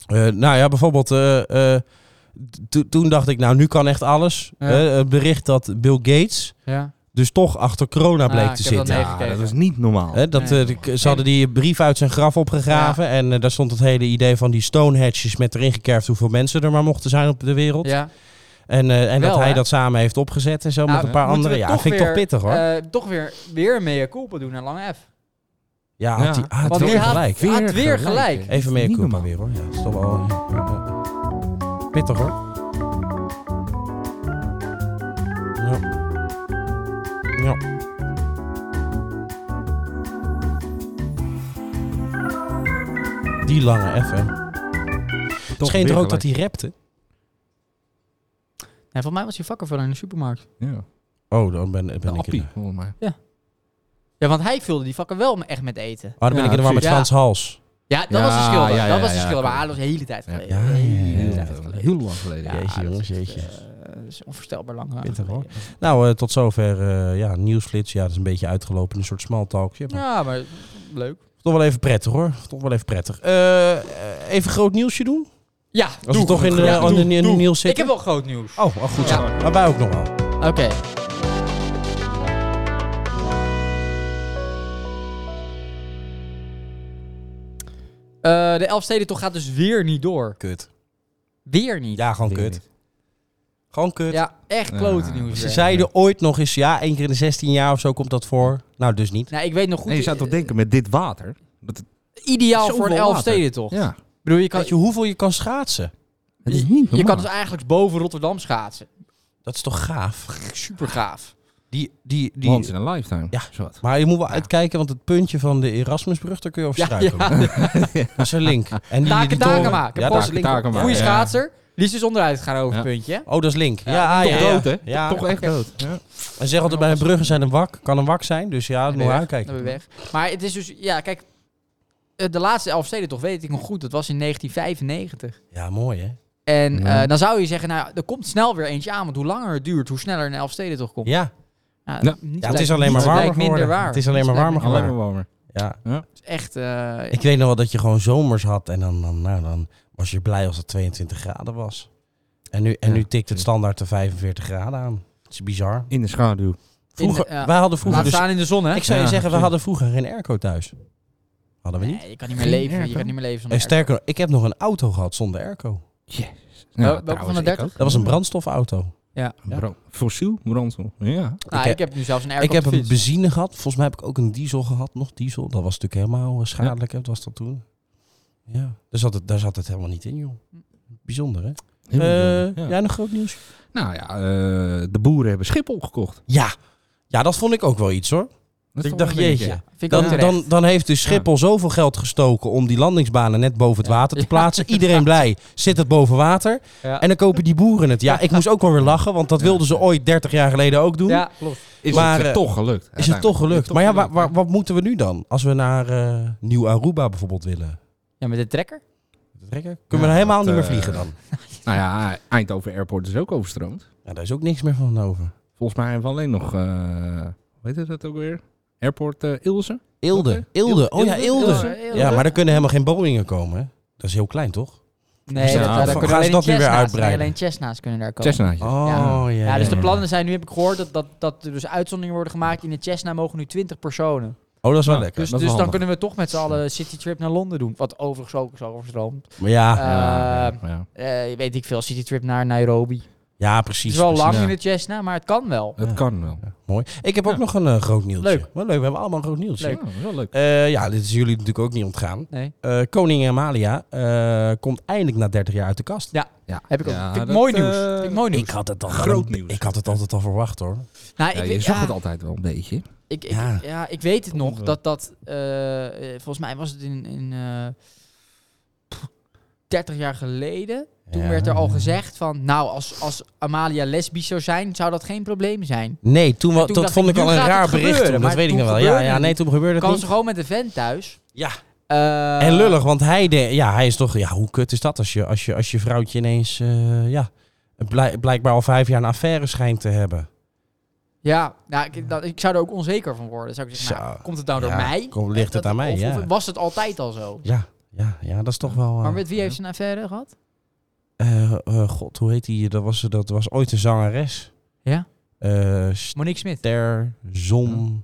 B: Eh, nou ja, bijvoorbeeld, eh, eh, to- toen dacht ik, nou nu kan echt alles.
A: Ja.
B: Eh, het bericht dat Bill Gates
A: ja.
B: dus toch achter corona
A: Ah,
B: bleek
A: ik
B: te
A: heb dat
B: zitten.
A: meegekeken.
C: dat is niet normaal.
B: Hè, dat,
A: Nee.
B: eh, de- ze hadden die brief uit zijn graf opgegraven. En eh, daar stond het hele idee van die stonehatches met erin gekerfd hoeveel mensen er maar mochten zijn op de wereld.
A: Ja.
B: En, eh, en
A: Wel,
B: dat hij
A: hè?
B: dat samen heeft opgezet en zo
A: Nou,
B: met een paar
A: moeten
B: anderen.
A: we
B: Ja, vind ik toch
A: weer,
B: pittig hoor.
A: eh, toch weer, weer een mea culpa doen naar Lange F.
B: ja, had
C: ja.
B: die, had
A: Want
B: wel
A: die had-
B: gelijk.
A: had weer gelijk.
B: Even meer
C: Niet
B: Koepa
C: normaal.
B: weer hoor. Ja, dat is toch wel ja. pittig hoor. Ja. Ja. Die lange even. Het
C: Toch
B: scheen er
C: weer
B: ook dat hij rapte.
A: Nee, volgens mij was hij vakkenvuller in de supermarkt.
C: gelijk. Ja,
B: Oh, dan ben, ben
C: de
B: ik
C: appie,
B: er.
C: volgens mij.
A: Ja, want hij vulde die vakken wel echt met eten.
B: Oh, dan ben
C: Ja,
B: ik er maar met
A: precies.
B: Frans Hals.
A: Ja, dat
C: Ja,
A: was de schilder.
C: ja, ja,
A: dat was de
C: ja,
A: schilder.
C: ja.
A: maar ah, dat was een hele tijd geleden.
B: Ja, ja, ja,
A: Hele
B: ja,
A: tijd
C: Heel-
A: geleden.
C: Heel lang geleden.
A: Ja,
B: Jeetje,
A: dat
B: jongens,
A: is,
B: jeetje.
A: eh, dat is onvoorstelbaar lang. eh,
B: Pittig, hoor.
A: geleden.
B: Nou, eh, tot zover eh, ja, nieuwsflits. Ja, dat is een beetje uitgelopen. Een soort small talkje. Maar
A: Ja, maar leuk.
B: Toch wel even prettig hoor. Toch wel even prettig. Eh, eh, even groot nieuwsje doen.
A: Ja,
B: Als
A: doe.
B: we toch in de,
A: Ja,
B: aan de
A: doe,
B: nie-
A: doe.
B: nieuws
A: Ik
B: zitten.
A: heb wel groot nieuws.
B: Oh, oh, goed zo.
A: Ja.
B: Maar wij ook nog wel.
A: Oké. Eh, de Elfstedentocht gaat dus weer niet door.
B: Kut.
A: Weer niet.
B: Ja, gewoon
C: Weer
B: kut.
C: niet.
B: Gewoon kut.
A: Ja, echt klote nieuws.
B: Ze
A: weer.
B: zeiden ooit nog eens, ja, één keer in de 16 jaar of zo komt dat voor. Nou, dus niet.
A: Nou, ik weet nog goed.
C: Nee, je zou toch denken met dit water? Dat het,
A: Ideaal
C: Zoveel
A: voor een
C: water.
A: Elfstedentocht.
C: ja,
A: Ik bedoel, je kan,
B: Weet je hoeveel je kan schaatsen?
C: het is niet
A: je,
C: normaal.
A: kan dus eigenlijk boven Rotterdam schaatsen.
B: Dat is toch gaaf?
A: Super gaaf.
B: Die, die, die,
C: Once in a lifetime.
B: Ja.
C: Zo wat.
B: Maar je moet wel uitkijken, want het puntje van de Erasmusbrug, daar kun je over
A: Ja,
B: struikelen.
A: ja.
B: Dat is een link. En die,
A: Taken,
B: toren-
A: taken maken.
B: Ja,
A: Pas
B: taken,
C: link.
B: taken maken.
A: Goeie
C: Ja.
A: schaatser. Die is dus onderuit gaan over het puntje. hè?
B: Oh, dat is link. Ja,
A: Ja,
B: ja,
A: toch
B: ja,
C: dood, hè?
B: Ja.
C: Toch echt dood.
B: En zeg altijd bij de bruggen zijn een wak. Kan een wak zijn, dus ja,
A: Dan
B: moet
A: ben
B: je
A: je
B: uitkijken.
A: Dan ben je weg. Maar het is dus, ja, kijk. eh, De laatste Elfstedentocht weet ik nog goed. Dat was in 1995.
B: Ja, mooi hè?
A: En
C: Ja.
A: eh, dan zou je zeggen, nou, er komt snel weer eentje aan. Want hoe langer het duurt, hoe sneller een Elfstedentocht komt.
B: Ja,
A: Nou,
C: Ja.
A: niet
B: ja
A: lijkt-
B: het is alleen maar
A: niets
B: warmer
A: lijkt minder
B: geworden.
A: waar.
B: Het is alleen
A: Niets
B: maar warmer
A: lijkt minder
C: Alleen
B: geworden.
C: maar warmer.
B: Ja.
A: waar. Echt, eh,
B: Ik weet nog wel dat je gewoon zomers had en dan, dan, nou, dan was je blij als het 22 graden was. En nu, en
C: Ja,
B: nu tikt het
C: tuurlijk.
B: standaard de 45 graden aan. Dat is bizar.
C: In de schaduw.
B: Vroeger,
A: de- ja.
B: Wij hadden vroeger
A: laat
B: dus...
A: staan in de zon, hè?
B: Ik zou je
C: Ja,
B: zeggen, we
C: precies.
B: hadden vroeger geen airco thuis. Hadden we niet?
A: Nee, je kan niet meer
C: Geen
A: leven. Je
C: airco.
A: kan niet meer leven zonder
B: En sterker, nog, ik heb nog een auto gehad zonder airco.
A: airco.
C: Ja,
A: Wel- Welke van
C: Nou, trouwens,
A: de
C: ik
A: 30?
B: Dat was een brandstofauto.
C: ook. Bro- Fossiel brandstof. Ja.
A: Nou,
B: Ik
A: ik heb nu zelfs een airco
B: Ik
A: op
B: heb
A: de
B: een
A: fiets.
B: benzine gehad. Volgens mij heb ik ook een diesel gehad. Nog diesel. Dat was natuurlijk helemaal eh, schadelijk. hè. Dat was dat toen. Ja. Daar zat, het, daar zat het helemaal niet in, joh. Bijzonder, hè? Eh,
C: Heel bijzonder. Ja.
B: Jij nog groot nieuws?
C: Nou ja, eh, de boeren hebben Schiphol gekocht.
B: Ja. Ja, dat vond ik ook wel iets, hoor.
C: Dat is
B: ik
C: toch
B: dacht,
C: wel een
B: jeetje.
C: beetje-
A: Vind ik ook
B: Dan,
A: terecht.
B: dan, dan heeft dus Schiphol zoveel geld gestoken om die landingsbanen net boven het
A: Ja.
B: water te
A: Ja,
B: plaatsen. Iedereen blij, zit het boven water.
A: Ja.
B: En dan kopen die boeren het. Ja, ik moest ook wel weer lachen, want dat wilden ze ooit 30 jaar geleden ook doen.
A: Ja, klopt.
C: Is
B: Maar,
C: het
B: eh,
C: eh, toch gelukt?
B: Is het toch gelukt?
C: Toch
B: maar ja, wa-
C: gelukt,
B: wa- wat moeten we nu dan? Als we naar eh, Nieuw Aruba bijvoorbeeld willen.
A: Ja, met de trekker?
B: Dat eh, rekken? Kunnen we er helemaal niet meer vliegen dan?
C: Nou ja, Eindhoven Airport is ook overstroomd.
B: Ja, daar is ook niks meer van over.
C: Volgens mij hebben we alleen nog, eh hoe heet dat ook weer? Airport eh, Ilse?
B: Ilde. Ilde. Oh ja, Ilde.
A: Ilde.
B: Ja, maar daar kunnen helemaal geen Boeingen komen. hè? Dat is heel klein, toch?
A: Nee, dat,
C: Nou,
A: daar
C: gaan
A: kunnen
B: ze
A: alleen
B: dat nu weer
A: Cessna's- nee,
B: uitbreiden?
A: alleen Cessna's kunnen daar komen.
C: Cessnaatje.
B: Oh ja.
A: Ja, dus de
B: ja.
A: plannen zijn, nu heb ik gehoord dat, dat, dat er dus uitzonderingen worden gemaakt. In de Cessna mogen nu 20 personen.
B: Oh, dat is wel
C: Ja.
B: lekker.
A: Dus,
C: dat is
A: dus
C: wel
A: dan kunnen we toch met z'n allen citytrip naar Londen doen. Wat overigens ook is overstroomd.
B: Maar ja,
C: Ja,
A: Eh,
C: ja, ja.
A: eh, weet ik veel, citytrip naar Nairobi.
B: ja,
A: Het
B: precies.
A: is wel
B: precies.
A: lang
C: ja.
A: in de Cessna, maar het kan wel.
C: Het
B: Ja.
C: kan wel.
B: Mooi. Ik heb ook nog een eh, groot nieuwtje.
A: Leuk.
B: Wel leuk, we hebben allemaal een groot nieuwtje.
A: Leuk.
C: Ja, wel leuk.
B: Eh, ja, dit is jullie natuurlijk ook niet ontgaan.
A: Nee.
B: Eh Koningin Amalia eh, komt eindelijk na 30 jaar uit de kast.
A: Heb ik ook.
C: Ja,
A: Vind ik
C: dat,
A: mooi
C: eh,
A: nieuws. Vind ik mooi nieuws.
B: Ik had het al
C: Groot nieuws.
B: Ik had het altijd al verwacht hoor.
A: nou,
C: Ja,
A: ik,
C: je
A: weet-
C: zag
A: ja,
C: het altijd wel een beetje.
A: ik, ik-
B: Ja.
A: ja. ik weet het nog.
C: Kom,
A: Dat dat, eh, eh, volgens mij was het in, in eh, pff, 30 jaar geleden. Toen
B: Ja.
A: werd er al gezegd van, nou, als, als Amalia lesbisch zou zijn, zou dat geen probleem zijn.
B: Nee, toen, wa-
A: toen
B: dat
A: dacht
B: vond
A: ik,
B: ik al
A: nu
B: een
A: gaat
B: raar
A: het
B: bericht.
A: gebeuren,
B: toen, dat
A: maar
B: weet ik
A: toen
B: nog wel. Ja,
A: gebeurde
B: ja,
A: het
B: nee, toen gebeurde het
A: Kan
B: niet.
A: ze gewoon met een vent thuis.
B: Ja.
A: Eh,
B: En lullig, want hij, de, ja, hij is toch... Ja, hoe kut is dat als je, als je, als je vrouwtje ineens... eh, ja, blijk- blijkbaar al vijf jaar een affaire schijnt te hebben.
A: Ja, nou, ik, dat, ik zou er ook onzeker van worden. Zou ik zeggen, nou,
B: Zo.
A: komt het nou door
B: Ja,
A: mij?
B: kom- ligt het
A: Dat-
B: aan mij,
A: of-
B: ja.
A: of was het altijd al zo?
B: Ja, ja, ja dat is toch wel... eh,
A: Maar met wie heeft ze een affaire gehad?
B: eh, eh, God, hoe heet die? Dat was, dat was ooit een zangeres.
A: Ja?
B: Eh,
A: Monique Smit.
B: ster, zon,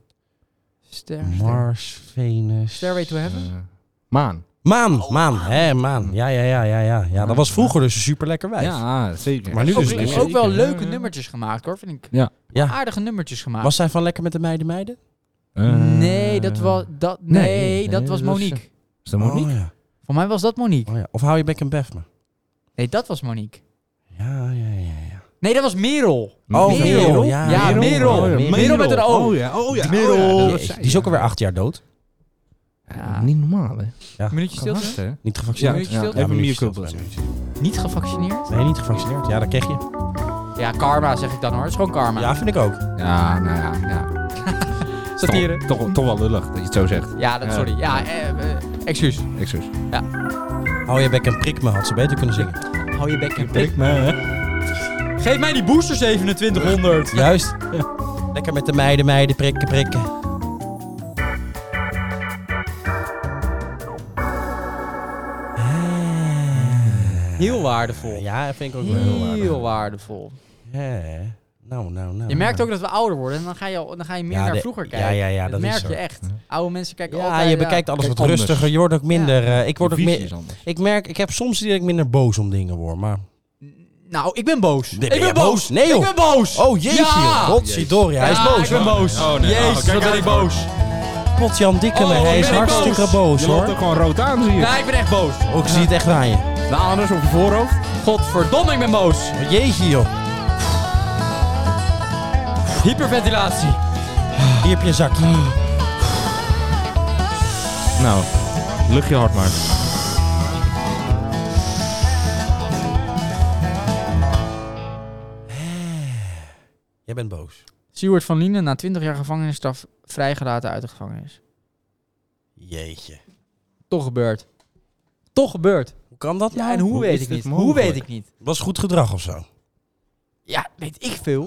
A: Ster.
B: Mars, Venus...
A: Stairway to Heaven.
C: Eh, maan.
B: Maan, maan, hè, maan. Ja, ja, ja, ja, ja. ja dat was vroeger dus een super lekker wijf.
C: Ja, zeker.
B: Maar nu
A: Ook,
B: dus niet meer.
A: ook wel
C: Zeker.
A: leuke nummertjes gemaakt hoor, vind ik.
B: Ja.
A: Aardige nummertjes gemaakt.
B: Was zij van lekker met de meiden meiden?
C: Eh,
A: nee, dat was, dat, nee,
C: nee,
A: dat
C: nee,
A: was
C: dat is,
A: Monique.
C: Is dat Monique?
B: Oh, ja.
A: Voor mij was dat Monique.
B: Oh, ja. Of hou je bek en bef me?
A: Nee, dat was Monique.
B: Ja, ja, ja. ja.
A: Nee, dat was Merel.
B: Oh,
A: Merel.
B: Merel, ja.
A: Ja, Merel.
B: Merel. Oh,
A: Merel.
B: Merel.
A: met een O.
C: ja, oh ja.
B: Merel.
C: oh ja, dat
B: Jeetje,
C: zei
B: die is
C: je.
B: ook alweer acht jaar dood.
A: Ja.
C: Niet normaal, hè?
A: Minuutje
C: Kan
A: stilte.
C: hard, hè?
B: Niet
C: Ja,
B: gevaccineerd.
A: minuutje
C: ja,
A: stilte.
B: Ja,
C: even
B: minuutje
C: meer
B: stilte,
C: koppels.
A: Niet gevaccineerd?
B: Nee, niet gevaccineerd. Ja, dat kreeg je.
A: Ja, karma zeg ik dan hoor. Het is gewoon karma.
B: Ja, vind ik ook.
C: Ja, nou ja, ja.
A: Satire.
C: Toch, toch, toch wel lullig dat je het zo zegt.
A: Ja, dat,
C: Ja.
A: sorry. Ja, eh, eh, excuus.
C: Excuus.
B: Hou je bek en prik me, had ze beter kunnen zingen.
A: Hou je bek en prik.
C: Prik me.
A: Geef mij die booster 2700.
B: Juist. Lekker met de meiden meiden prikken prikken.
A: Heel waardevol.
B: Ja, dat vind ik ook wel heel aardig.
A: Heel waardevol.
B: Ja. Nou, nou, nou.
A: Je merkt ook dat we ouder worden en dan ga je, al- dan ga je meer
B: Ja,
A: naar
B: de-
A: vroeger
B: ja,
A: kijken.
B: ja, ja,
A: dat
B: dat
A: merk
B: is zo.
A: je echt. Oude mensen kijken
B: Ja,
A: altijd...
B: je bekijkt alles
C: Kijk,
B: wat
C: anders.
B: rustiger. Je wordt ook minder. eh, ik word ook meer.
C: anders.
B: Ik merk, ik heb soms die dat ik minder boos om dingen word, maar...
A: Nou, ik ben boos.
B: Ben
A: ik ben
B: jij
A: boos.
B: boos? Nee,
A: Ik
B: joh.
A: ben boos.
B: Oh, jeetje.
A: Ja.
B: Godzidori, hij is
A: Ja,
B: boos.
A: Ik ben boos.
C: Oh, nee.
A: Jezus,
C: Oh, kijk
A: wat ben
C: uit.
A: ik boos.
B: Pot Jan Dikkeme,
A: Oh,
B: hij is
A: ben ik
B: hartstikke boos,
C: Je loopt er
B: hoor.
C: gewoon rood aan, zie je.
A: Ja, ik ben echt boos.
B: Ook ik zie het echt aan je.
C: De anus op je voorhoofd.
A: Godverdomme, ik ben boos.
B: Oh, Jeetje, joh.
A: Hyperventilatie.
B: Hier heb je een zakje.
C: Nou, lucht je hard maar.
B: Jij bent boos.
A: Stuart van Lienen na 20 jaar gevangenisstraf vrijgelaten uit de gevangenis.
B: Jeetje.
A: Toch gebeurd. Toch gebeurd.
B: Hoe kan dat nou?
A: Ja, en hoe,
C: hoe
A: weet
C: is
A: ik
C: dit
A: niet? Hoe
C: mogelijk?
A: weet ik niet?
B: Was goed gedrag of zo?
A: Ja, weet ik veel.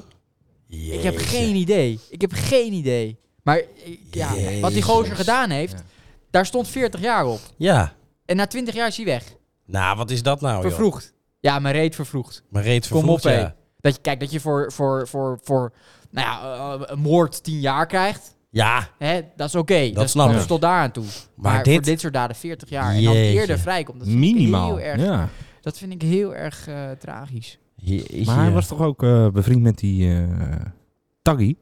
A: Ik heb
B: Jeetje.
A: geen idee. Ik heb geen idee. Maar eh, ja,
B: Jezus.
A: wat die gozer gedaan heeft,
C: Ja.
A: daar stond 40 jaar op.
B: Ja.
A: En na 20 jaar is hij weg.
B: Nou, wat is dat nou, joh?
A: vervroegd. Ja, mijn reet vervroegd.
B: Maar reet
A: Kom
B: vervroegd,
A: op,
B: ja.
A: hé. Dat je, kijk, dat je voor, voor, voor, voor nou ja, eh, een moord 10 jaar krijgt.
B: Ja,
A: Hè, dat is oké. Dat, is-
B: snap
A: dat
B: ik.
A: is tot daar aan toe. Maar,
B: dit-
A: voor dit soort daden 40 jaar. En dan
B: Jeetje.
A: eerder vrijkomt. Dat vind ik
C: Minimaal.
A: Heel erg,
C: Ja.
A: Dat vind ik heel erg eh, tragisch.
B: Jeetje.
C: Maar hij was toch ook eh, bevriend met die eh Taggy?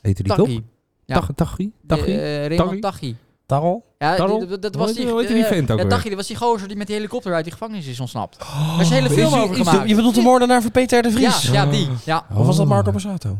C: Heette die toch?
A: Taghi. Ja.
C: Tag- Taggy? Taggy?
A: Eh, Raymond
C: Taghi?
A: Taghi.
B: Tarrel?
A: Ja, die-
C: Tarrel?
A: dat- dat
C: Hoe
A: was
C: heet-
A: die...
C: hoe heette die
A: eh,
C: vent ook
A: ja,
C: weer?
A: Taghi, dat was die gozer die met die helikopter uit die gevangenis is ontsnapt. Daar is een hele
B: Oh,
A: film
B: Is die-
A: over
B: is die-
A: gemaakt.
B: Je bedoelt de moordenaar van Peter R. de
A: ja,
B: Vries?
A: ja, die. Ja,
B: Of was dat Marco Borsato?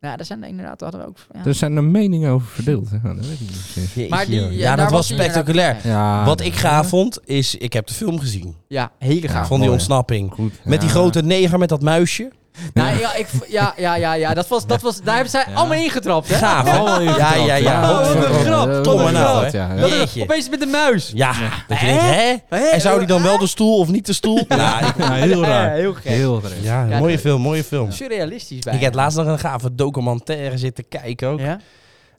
A: ja daar zijn er inderdaad... daar Hadden we ook, ja.
C: Er zijn er meningen over verdeeld. hè? Ja, dat weet ik niet precies.
A: Maar die, eh, daar
B: ja, dat was
A: hij inderdaad-
B: spectaculair.
A: Ja,
C: Ja,
B: Wat ik gaaf vond, is... Ik heb de film gezien.
A: Ja, hele gaaf.
B: Van die
C: mooi.
B: ontsnapping.
C: Goed.
B: Met die
C: Ja.
B: grote neger met dat muisje.
A: Nou, ja, ik, v- ja, ja, ja, ja, dat was, dat was, daar hebben zij allemaal ingetrapt, hè?
B: Gaaf. hè?
C: Allemaal ingetrapt,
B: ja, ja, ja.
A: Oh, wat een
B: Godverdomme.
A: grap. Wat
B: Kom
A: een
B: maar nou,
A: grap.
B: hè.
C: Ja, ja.
A: Dat-
B: Jeetje.
A: Opeens met de muis.
B: Ja, dat je denkt, hè?
A: Hè?
B: En zou die dan wel de stoel of niet de stoel? Ja, ik-
C: Ja, heel
A: Ja,
C: raar.
A: heel gek.
C: Heel raar.
B: ja,
A: Ja,
B: mooie
A: dat-
B: film, mooie film.
A: Surrealistisch bij.
B: Ik heb laatst nog een gave documentaire zitten kijken ook.
A: Ja?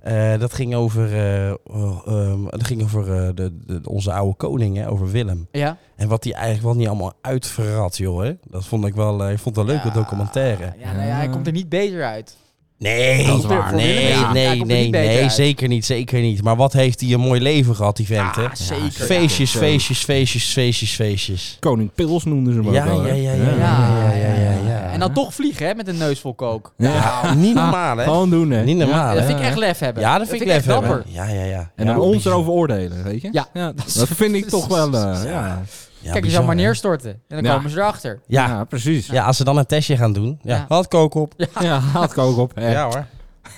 B: Eh, dat ging over, eh, oh, ehm, dat ging over eh, de, de- onze oude koning, hè, over Willem.
A: Ja.
B: En wat hij eigenlijk wel niet allemaal uitverrat, joh. Hè? Dat vond ik wel, eh, ik vond het een leuke
A: Ja.
B: documentaire.
A: Ja, nou ja, hij komt er niet beter uit.
B: Nee,
A: Dat is waar. Voor
B: nee,
A: Willem, ja. Hij
B: nee,
A: komt er
B: nee,
A: niet beter
B: nee,
A: uit.
B: zeker niet, zeker niet. Maar wat heeft hij een mooi leven gehad, die vent, hè?
A: Ah, zeker.
B: Feestjes,
C: Zo.
B: feestjes, feestjes, feestjes, feestjes.
C: Koning Pils noemden ze hem ook
B: Ja,
C: wel, hè?
B: ja, ja, ja,
A: Ja, ja, ja,
B: ja.
A: En dan toch vliegen, hè, met een neus vol kook.
C: Ja.
A: Nou,
B: Niet normaal, hè?
C: Gewoon doen, hè.
B: Niet normaal,
A: dat
B: hè?
A: vind ik echt lef hebben.
B: Ja, dat vind ik echt
A: echt
B: hebben.
A: dapper.
B: Ja, ja, ja.
C: En
B: ja,
C: dan ons
B: bizar.
C: erover oordelen, weet je?
A: Ja.
C: dat, vind ik toch wel... eh, ja.
B: Ja,
A: Kijk, je
B: bizar,
A: zou maar
B: hè?
A: neerstorten. En dan
C: Ja.
A: komen ze erachter.
B: Ja.
C: Ja, precies.
B: Ja, als ze dan een testje gaan doen. Ja,
A: Ja.
B: had kook op. Ja,
C: Ja, haat ik ook op. hè.
B: hoor.
C: Maar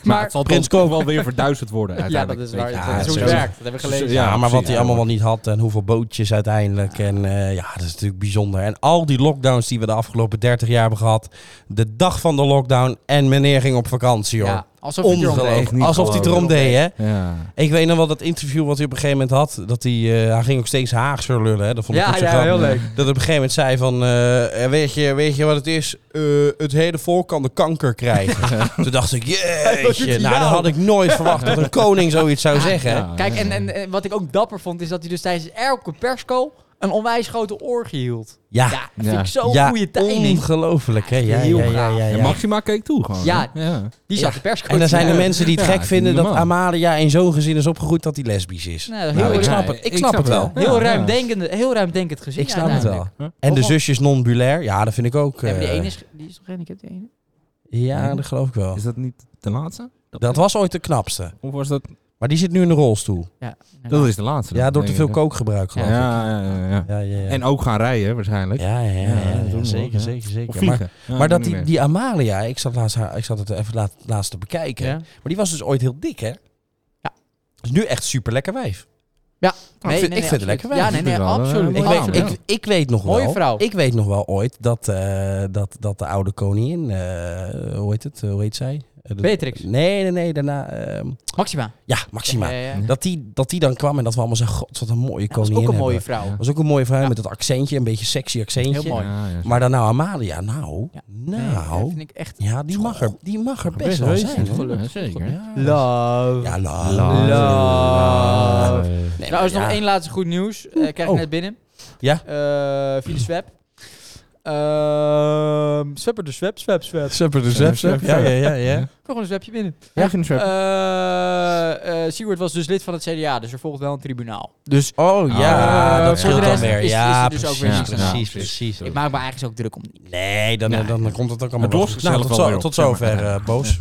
A: Maar-
C: het zal
B: Prins
C: toch ook wel weer verduizend worden
A: Ja, dat
C: uiteindelijk.
A: is waar.
C: weet je.
B: Ja,
A: dat is hoe het
B: sowieso.
A: werkt. Dat hebben we gelezen.
C: Ja,
B: Ja, maar wat
C: precies,
B: hij
C: ja,
B: allemaal
C: hoor.
B: wel niet had en hoeveel bootjes uiteindelijk. En eh, ja, dat is natuurlijk bijzonder. En al die lockdowns die we de afgelopen 30 jaar hebben gehad. De dag van de lockdown en meneer ging op vakantie, hoor.
A: Ja, alsof je erom deed.
C: Echt niet
B: Ongelooflijk. Alsof hij het erom
A: geloven.
B: deed, hè?
C: Ja.
B: Ik weet nog wel dat interview wat hij op een gegeven moment had. Dat hij, eh, hij ging ook steeds Haags weer lullen. Hè? Dat vond ik
A: Ja,
B: ook zo
A: ja,
B: grappig.
A: heel leuk.
B: Dat op een gegeven moment zei van, eh, weet, je, weet je wat het is? Eh, het hele volk kan de kanker krijgen. Toen dacht ik,
A: Wat doet
B: jeetje.
A: hij
B: Nou, dat
A: nou?
B: had ik nooit verwacht dat een koning zoiets zou
A: Ja,
B: zeggen.
C: ja.
A: Kijk, en, en, en wat ik ook dapper vond, is dat hij dus tijdens elke persco een onwijs grote orgie hield.
B: Ja,
A: Ja, dat vind
C: Ja.
A: ik zo'n goede timing.
B: ongelooflijk. Hè? Ja,
A: Heel
B: ja, ja,
A: gaaf.
B: ja,
C: En
B: ja.
C: Maxima keek toe gewoon.
A: Ja.
C: hè? ja.
A: Die zat
B: Ja.
A: de persco
B: En dan zijn er
A: te-
B: mensen die het
C: Ja,
B: gek
C: is
B: vinden
C: niet
B: dat
C: normaal.
B: Amalia in zo'n gezin is opgegroeid dat hij lesbisch is.
A: Nou, heel,
B: Nou, ik
A: ruim-
B: snap het. Ik snap het wel.
C: Ja,
A: heel
C: ja.
A: ruimdenkend, heel ruimdenkend gezin.
B: Ik snap het wel.
A: uiteindelijk.
B: En de
A: Of-
B: zusjes non-bulair, ja, dat vind ik ook.
A: Ja, maar die
B: eh,
A: ene is, die is toch gehandicapt, die ene? Hm?
B: Ja, dat geloof ik wel.
C: Is dat niet de laatste?
B: Oh. Dat was ooit de knapste.
C: Of was dat...
B: Maar die zit nu in de rolstoel.
A: Ja.
C: Dat is de laatste.
B: Ja,
C: dan,
B: door te
C: denk
B: veel
C: ik.
B: kookgebruik geloof
C: Ja,
B: ik.
C: ja, ja, ja.
B: Ja, ja, ja.
C: En ook gaan rijden waarschijnlijk.
B: ja, ja, ja,
C: Ja,
B: ja,
C: dat doen we ook,
B: zeker,
C: hè.
B: zeker,
C: Of
B: zeker. Maar,
C: vliegen. Ja,
B: maar dat
C: niet
B: die,
C: meer.
B: die Amalia, ik zat, laatst, haar- ik zat het even laat, laatst te bekijken.
A: Ja.
B: Maar die was dus ooit heel dik, hè?
A: Ja.
B: Is nu echt super lekker wijf.
A: Nee,
B: vind-
A: nee, nee,
B: ik vind het
A: absoluut.
B: lekker wel.
A: Ja, nee,
C: Ik vind
A: nee,
C: het wel, eh,
A: absoluut.
C: mooi
B: Ik,
C: Wauw,
B: weet,
A: absoluut.
C: ja.
B: ik, ik weet nog
A: Mooie
B: wel.
A: vrouw.
B: Ik weet nog wel ooit dat, eh, dat, dat de oude koningin, eh, hoe heet het? hoe heet zij? Eh, de-
A: Beatrix.
B: Nee, nee, nee. Daarna. ehm,
A: Maxima.
B: ja, Maxima.
A: Ja, ja, ja.
B: Dat, die, dat die dan kwam en dat we allemaal zeiden: God, wat een mooie
A: Dat was
B: koningin.
A: ook een mooie
B: hebben.
A: vrouw.
B: was ook een mooie vrouw met dat accentje, een beetje sexy accentje.
A: Heel mooi.
C: Ja, ja,
B: Maar dan nou Amalia, nou,
A: Ja.
B: nou,
A: dat vind ik echt...
B: ja, die mag er, die mag er
C: ja.
B: best wel zijn. hoor.
C: Ja, zeker.
B: Ja,
A: Love.
B: ja, la-
C: Love.
A: Love.
B: Nee,
A: Nou, er is
B: maar
A: nog
B: ja.
A: één laatste goed nieuws. Eh krijg ik
B: Oh.
A: net binnen.
B: Ja.
A: Eh, via de swap. Ehm swapper de swap, swap, swap. Ik
B: Supper de
C: Zup, zup,
B: ja, ja, ja, ja.
A: heb gewoon een swapje binnen.
C: Ja, even een trap.
A: Eh eh Seward was dus lid van het CDA, dus er volgt wel een tribunaal. Dus
B: Oh ja,
A: Eh,
B: dat
A: voor de
B: scheelt dan
A: rest
B: weer.
A: is- is
B: ja,
A: er dus ook
B: precies,
A: weer
C: niks aan de hand.
B: precies, precies.
A: ik Nou. maak me eigenlijk ook druk om.
B: Nee, dan,
C: Nee.
B: dan komt het ook allemaal
C: Het lost
B: wel goed.
C: zichzelf
B: Nou, tot, zo,
C: wel weer op,
B: tot
C: zeg maar.
B: zover,
C: Ja.
B: eh, Boos.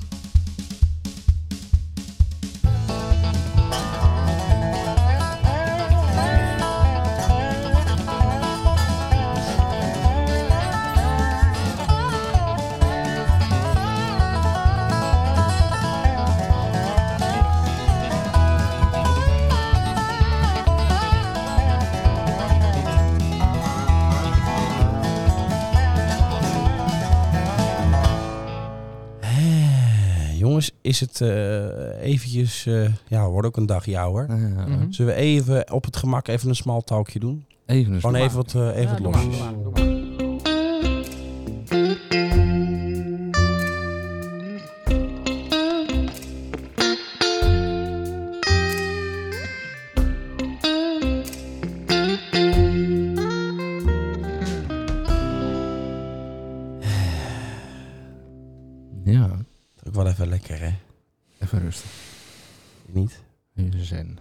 B: Eh, jongens, is het eh, eventjes... eh, ja, wordt ook een dagje ouder.
C: Ja,
A: Mhm.
B: Zullen we even op het gemak even een small talkje doen?
C: Even een
B: Gewoon
C: trap.
B: even wat, eh, even
A: Ja,
B: wat
A: doe maar,
B: losjes.
A: doe maar, doe maar.
C: Ja,
B: Ook wel even lekker, hè?
C: even rustig.
B: Niet?
C: Even zen.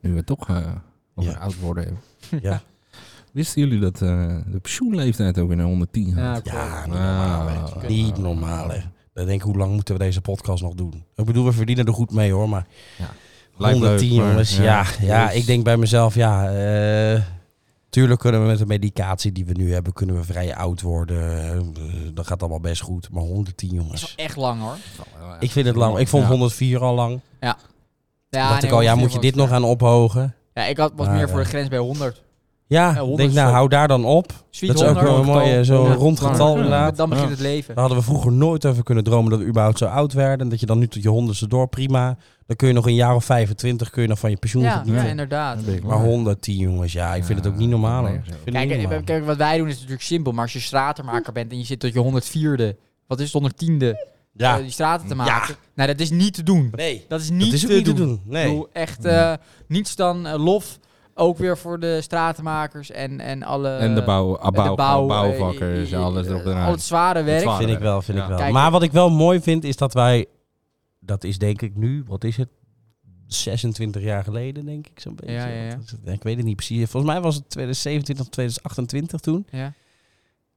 C: Nu we toch eh over
B: Ja.
C: oud worden.
B: Ja.
C: Wisten jullie dat eh, de pensioenleeftijd ook weer naar 110 gaat?
A: Ja,
B: Ja,
A: klopt.
B: niet normaal, hè.
C: Ah.
B: Niet normaal, hè. Dan denk ik, hoe lang moeten we deze podcast nog doen? Ik bedoel, we verdienen er goed mee, hoor. Maar
C: Lijkt leuk,
B: 110,
C: maar-
B: jongens. Ja, ja,
C: dus-
B: ik denk bij mezelf, ja... eh, tuurlijk kunnen we met de medicatie die we nu hebben... kunnen we vrij oud worden. Eh, dat gaat allemaal best goed. Maar 110,
A: Dat is
B: jongens.
A: wel echt lang hoor.
B: Ik vind het lang. Ik vond
C: Ja.
B: 104 al lang.
A: Ja,
B: dacht
A: nee,
B: ik al, ja,
A: ongeveer
B: moet je
A: wel.
B: dit nog gaan ophogen?
A: Ja, ik had, was
B: Maar,
A: meer voor de
B: eh,
A: grens bij 100.
B: Ja,
A: Eh, honderd
B: denk
A: is
B: nou,
A: ook-
B: hou daar dan op.
A: Sweet
B: Dat is ook
A: 100.
B: wel een mooi, zo'n
A: Ja,
B: rond
A: maar-
B: getal
C: Ja.
B: inderdaad.
A: Dan begint
C: Ja.
A: het leven.
B: Daar hadden we vroeger nooit over kunnen dromen dat we überhaupt zo oud werden. En dat je dan nu tot je honderdste door, prima. Dan kun je nog een jaar of 25 kun je nog van je pensioen
A: Ja,
B: genieten.
A: ja,
C: Ja.
A: inderdaad.
B: Maar 110 jongens, ja, ik vind het ook niet normaal. hoor. Ik vind het
A: Kijk,
B: niet
A: eh,
B: normaal.
A: kijk, wat wij doen is natuurlijk simpel. Maar als je stratenmaker bent en je zit tot je 104e, wat is het 110e,
B: ja.
A: eh, die straten te
B: Ja.
A: maken. Nou, dat is niet te doen.
B: Nee,
A: Dat is niet,
B: dat is ook
A: te,
B: niet te
A: doen.
B: doen.
A: Ik
B: Nee.
A: bedoel, echt eh, niets dan eh, lof. Ook weer voor de stratenmakers en, en alle...
C: En de bouw,
A: eh,
C: bouw,
A: de bouw, eh,
C: bouwvakkers,
A: eh,
C: alles
A: eh,
C: erop
A: Al
C: eraan.
A: het zware werk.
C: zwaar.
B: Vind ik wel, vind ik
C: Ja.
B: wel.
A: Kijk,
B: maar wat ik wel mooi vind is dat wij, dat is denk ik nu, wat is het? 26 jaar geleden, denk ik zo'n beetje.
A: Ja, ja, ja.
B: Wat is het? Ik weet het niet precies. Volgens mij was het 2027 of 2028 toen.
A: Ja.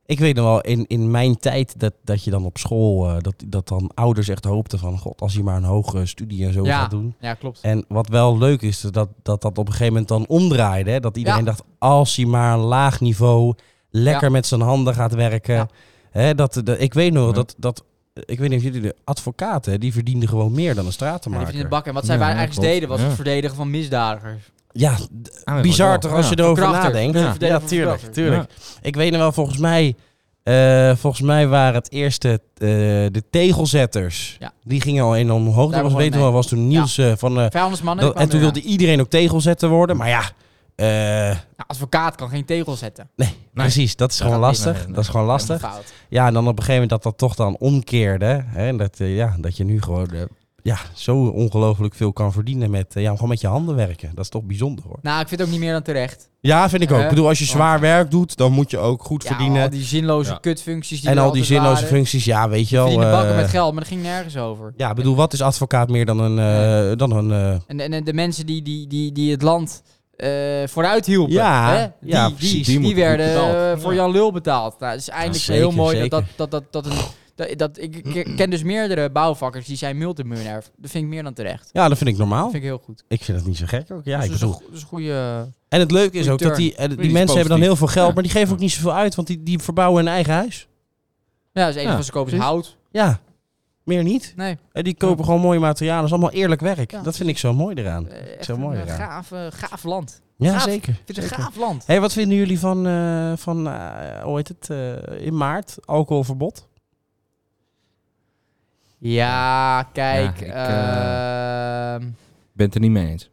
B: Ik weet nog wel, in, in mijn tijd dat, dat je dan op school, eh, dat, dat dan ouders echt hoopten van, god, als je maar een hogere studie en zo
A: Ja.
B: gaat doen.
A: ja, klopt.
B: En wat wel leuk is, is dat dat, dat op een gegeven moment dan omdraaide. Hè? Dat iedereen
A: Ja.
B: dacht, als hij maar een laag niveau lekker met zijn handen gaat werken.
A: Ja.
B: Hè? Dat, dat, ik weet nog
C: Ja.
B: dat, dat, ik weet niet of jullie de advocaten, hè, die verdienden gewoon meer dan een
A: Ja, die
B: stratenmaker.
A: verdienen bak. En wat zij
C: Ja,
A: wij
C: ja,
A: eigenlijk
C: klopt.
A: deden, was
C: Ja.
A: het verdedigen van misdadigers.
B: Ja,
C: Ah,
B: bizar
C: wel.
B: toch als
C: Ja.
B: je erover
A: Verkrachter.
B: nadenkt.
A: Ja.
B: Ja,
A: Verdedigen van
B: tuurlijk,
A: verkrachter.
B: tuurlijk. Ik weet nog wel, volgens mij, eh, volgens mij waren het eerste eh, de tegelzetters.
A: Ja.
B: Die gingen al in omhoog.
A: Daar
B: Dat was,
A: begon
B: weet nog
A: het
B: wel, was toen Niels eh, van... eh,
A: 500 mannen.
B: dat,
A: kwamen
B: en toen
A: er
B: wilde iedereen ook tegelzetter worden. Maar ja, eh,
A: aan. Nou, advocaat kan geen tegel zetten.
B: Nee, precies. Dat is gewoon
C: gaat niet.
B: lastig.
C: Nee, nee,
B: Dat is gewoon
A: Dat is
B: lastig.
A: fout.
B: Ja, en dan op een gegeven moment dat dat toch dan omkeerde. Hè, en dat, eh, ja, dat je nu gewoon eh, ja, zo ongelooflijk veel kan verdienen met eh, ja, gewoon met je handen werken. Dat is toch bijzonder hoor.
A: Nou, ik vind het ook niet meer dan terecht.
B: Ja, vind ik ook.
A: Eh,
B: Ik bedoel, als je zwaar werk doet, dan moet je ook goed
A: Ja, al
B: verdienen.
A: die zinloze
C: Ja.
A: kutfuncties die
B: En
A: er
B: al die
A: altijd
B: zinloze
A: waren.
B: functies, ja, weet je wel.
A: Verdienen bakken
B: eh,
A: met geld, maar dat ging nergens over.
B: ja, ik bedoel, wat is advocaat meer dan een... eh, dan een eh,
A: En, en, en de mensen die, die, die, die het land eh, vooruit hielpen.
B: Ja,
A: hè? Die,
B: ja,
A: die,
B: precies.
A: Die,
B: Die
C: moeten goed
A: werden
C: betaald.
A: eh, voor
C: Ja.
A: Jan Lul betaald. Nou, het is eindelijk
B: zeker,
A: heel mooi
B: zeker.
A: dat dat, dat, dat, dat een... Dat, dat- ik ik ken dus meerdere bouwvakkers die zijn multimiljonair. Dat vind ik meer dan terecht.
B: ja, dat vind ik
A: Dat
B: normaal.
A: vind ik heel goed.
B: Ik vind dat niet zo gek ook. Ja,
A: Dus dat, is
B: ik bedoel,
A: een, go- dat is een goede...
B: En het leuke is ook dat
A: Return.
B: die, eh, die
C: Iets
B: mensen hebben dan heel
C: positiefs.
B: veel geld,
C: Ja.
B: maar die geven ook niet zoveel uit, want die, die verbouwen hun eigen huis.
A: Ja, dat is een
C: Ja,
A: van ze kopen is
C: precies.
A: hout.
B: Ja, meer niet.
A: Nee,
B: En die kopen gewoon mooie materialen. Dat is allemaal eerlijk werk.
A: Ja.
B: Dat vind ik zo mooi eraan.
A: eh, echt
B: Zo
A: een
B: mooi,
A: eh,
B: ja.
A: gaaf, eh, gaaf land.
B: Ja,
A: gaaf.
B: zeker.
A: Ik vind het een
B: Zeker.
A: gaaf land.
B: Hey, wat vinden jullie van, eh, van eh, hoe heet het, eh, in maart, alcoholverbod?
A: Ja, kijk.
C: Ja, ik, eh,
A: ehm,
C: Ik ben het er niet mee eens.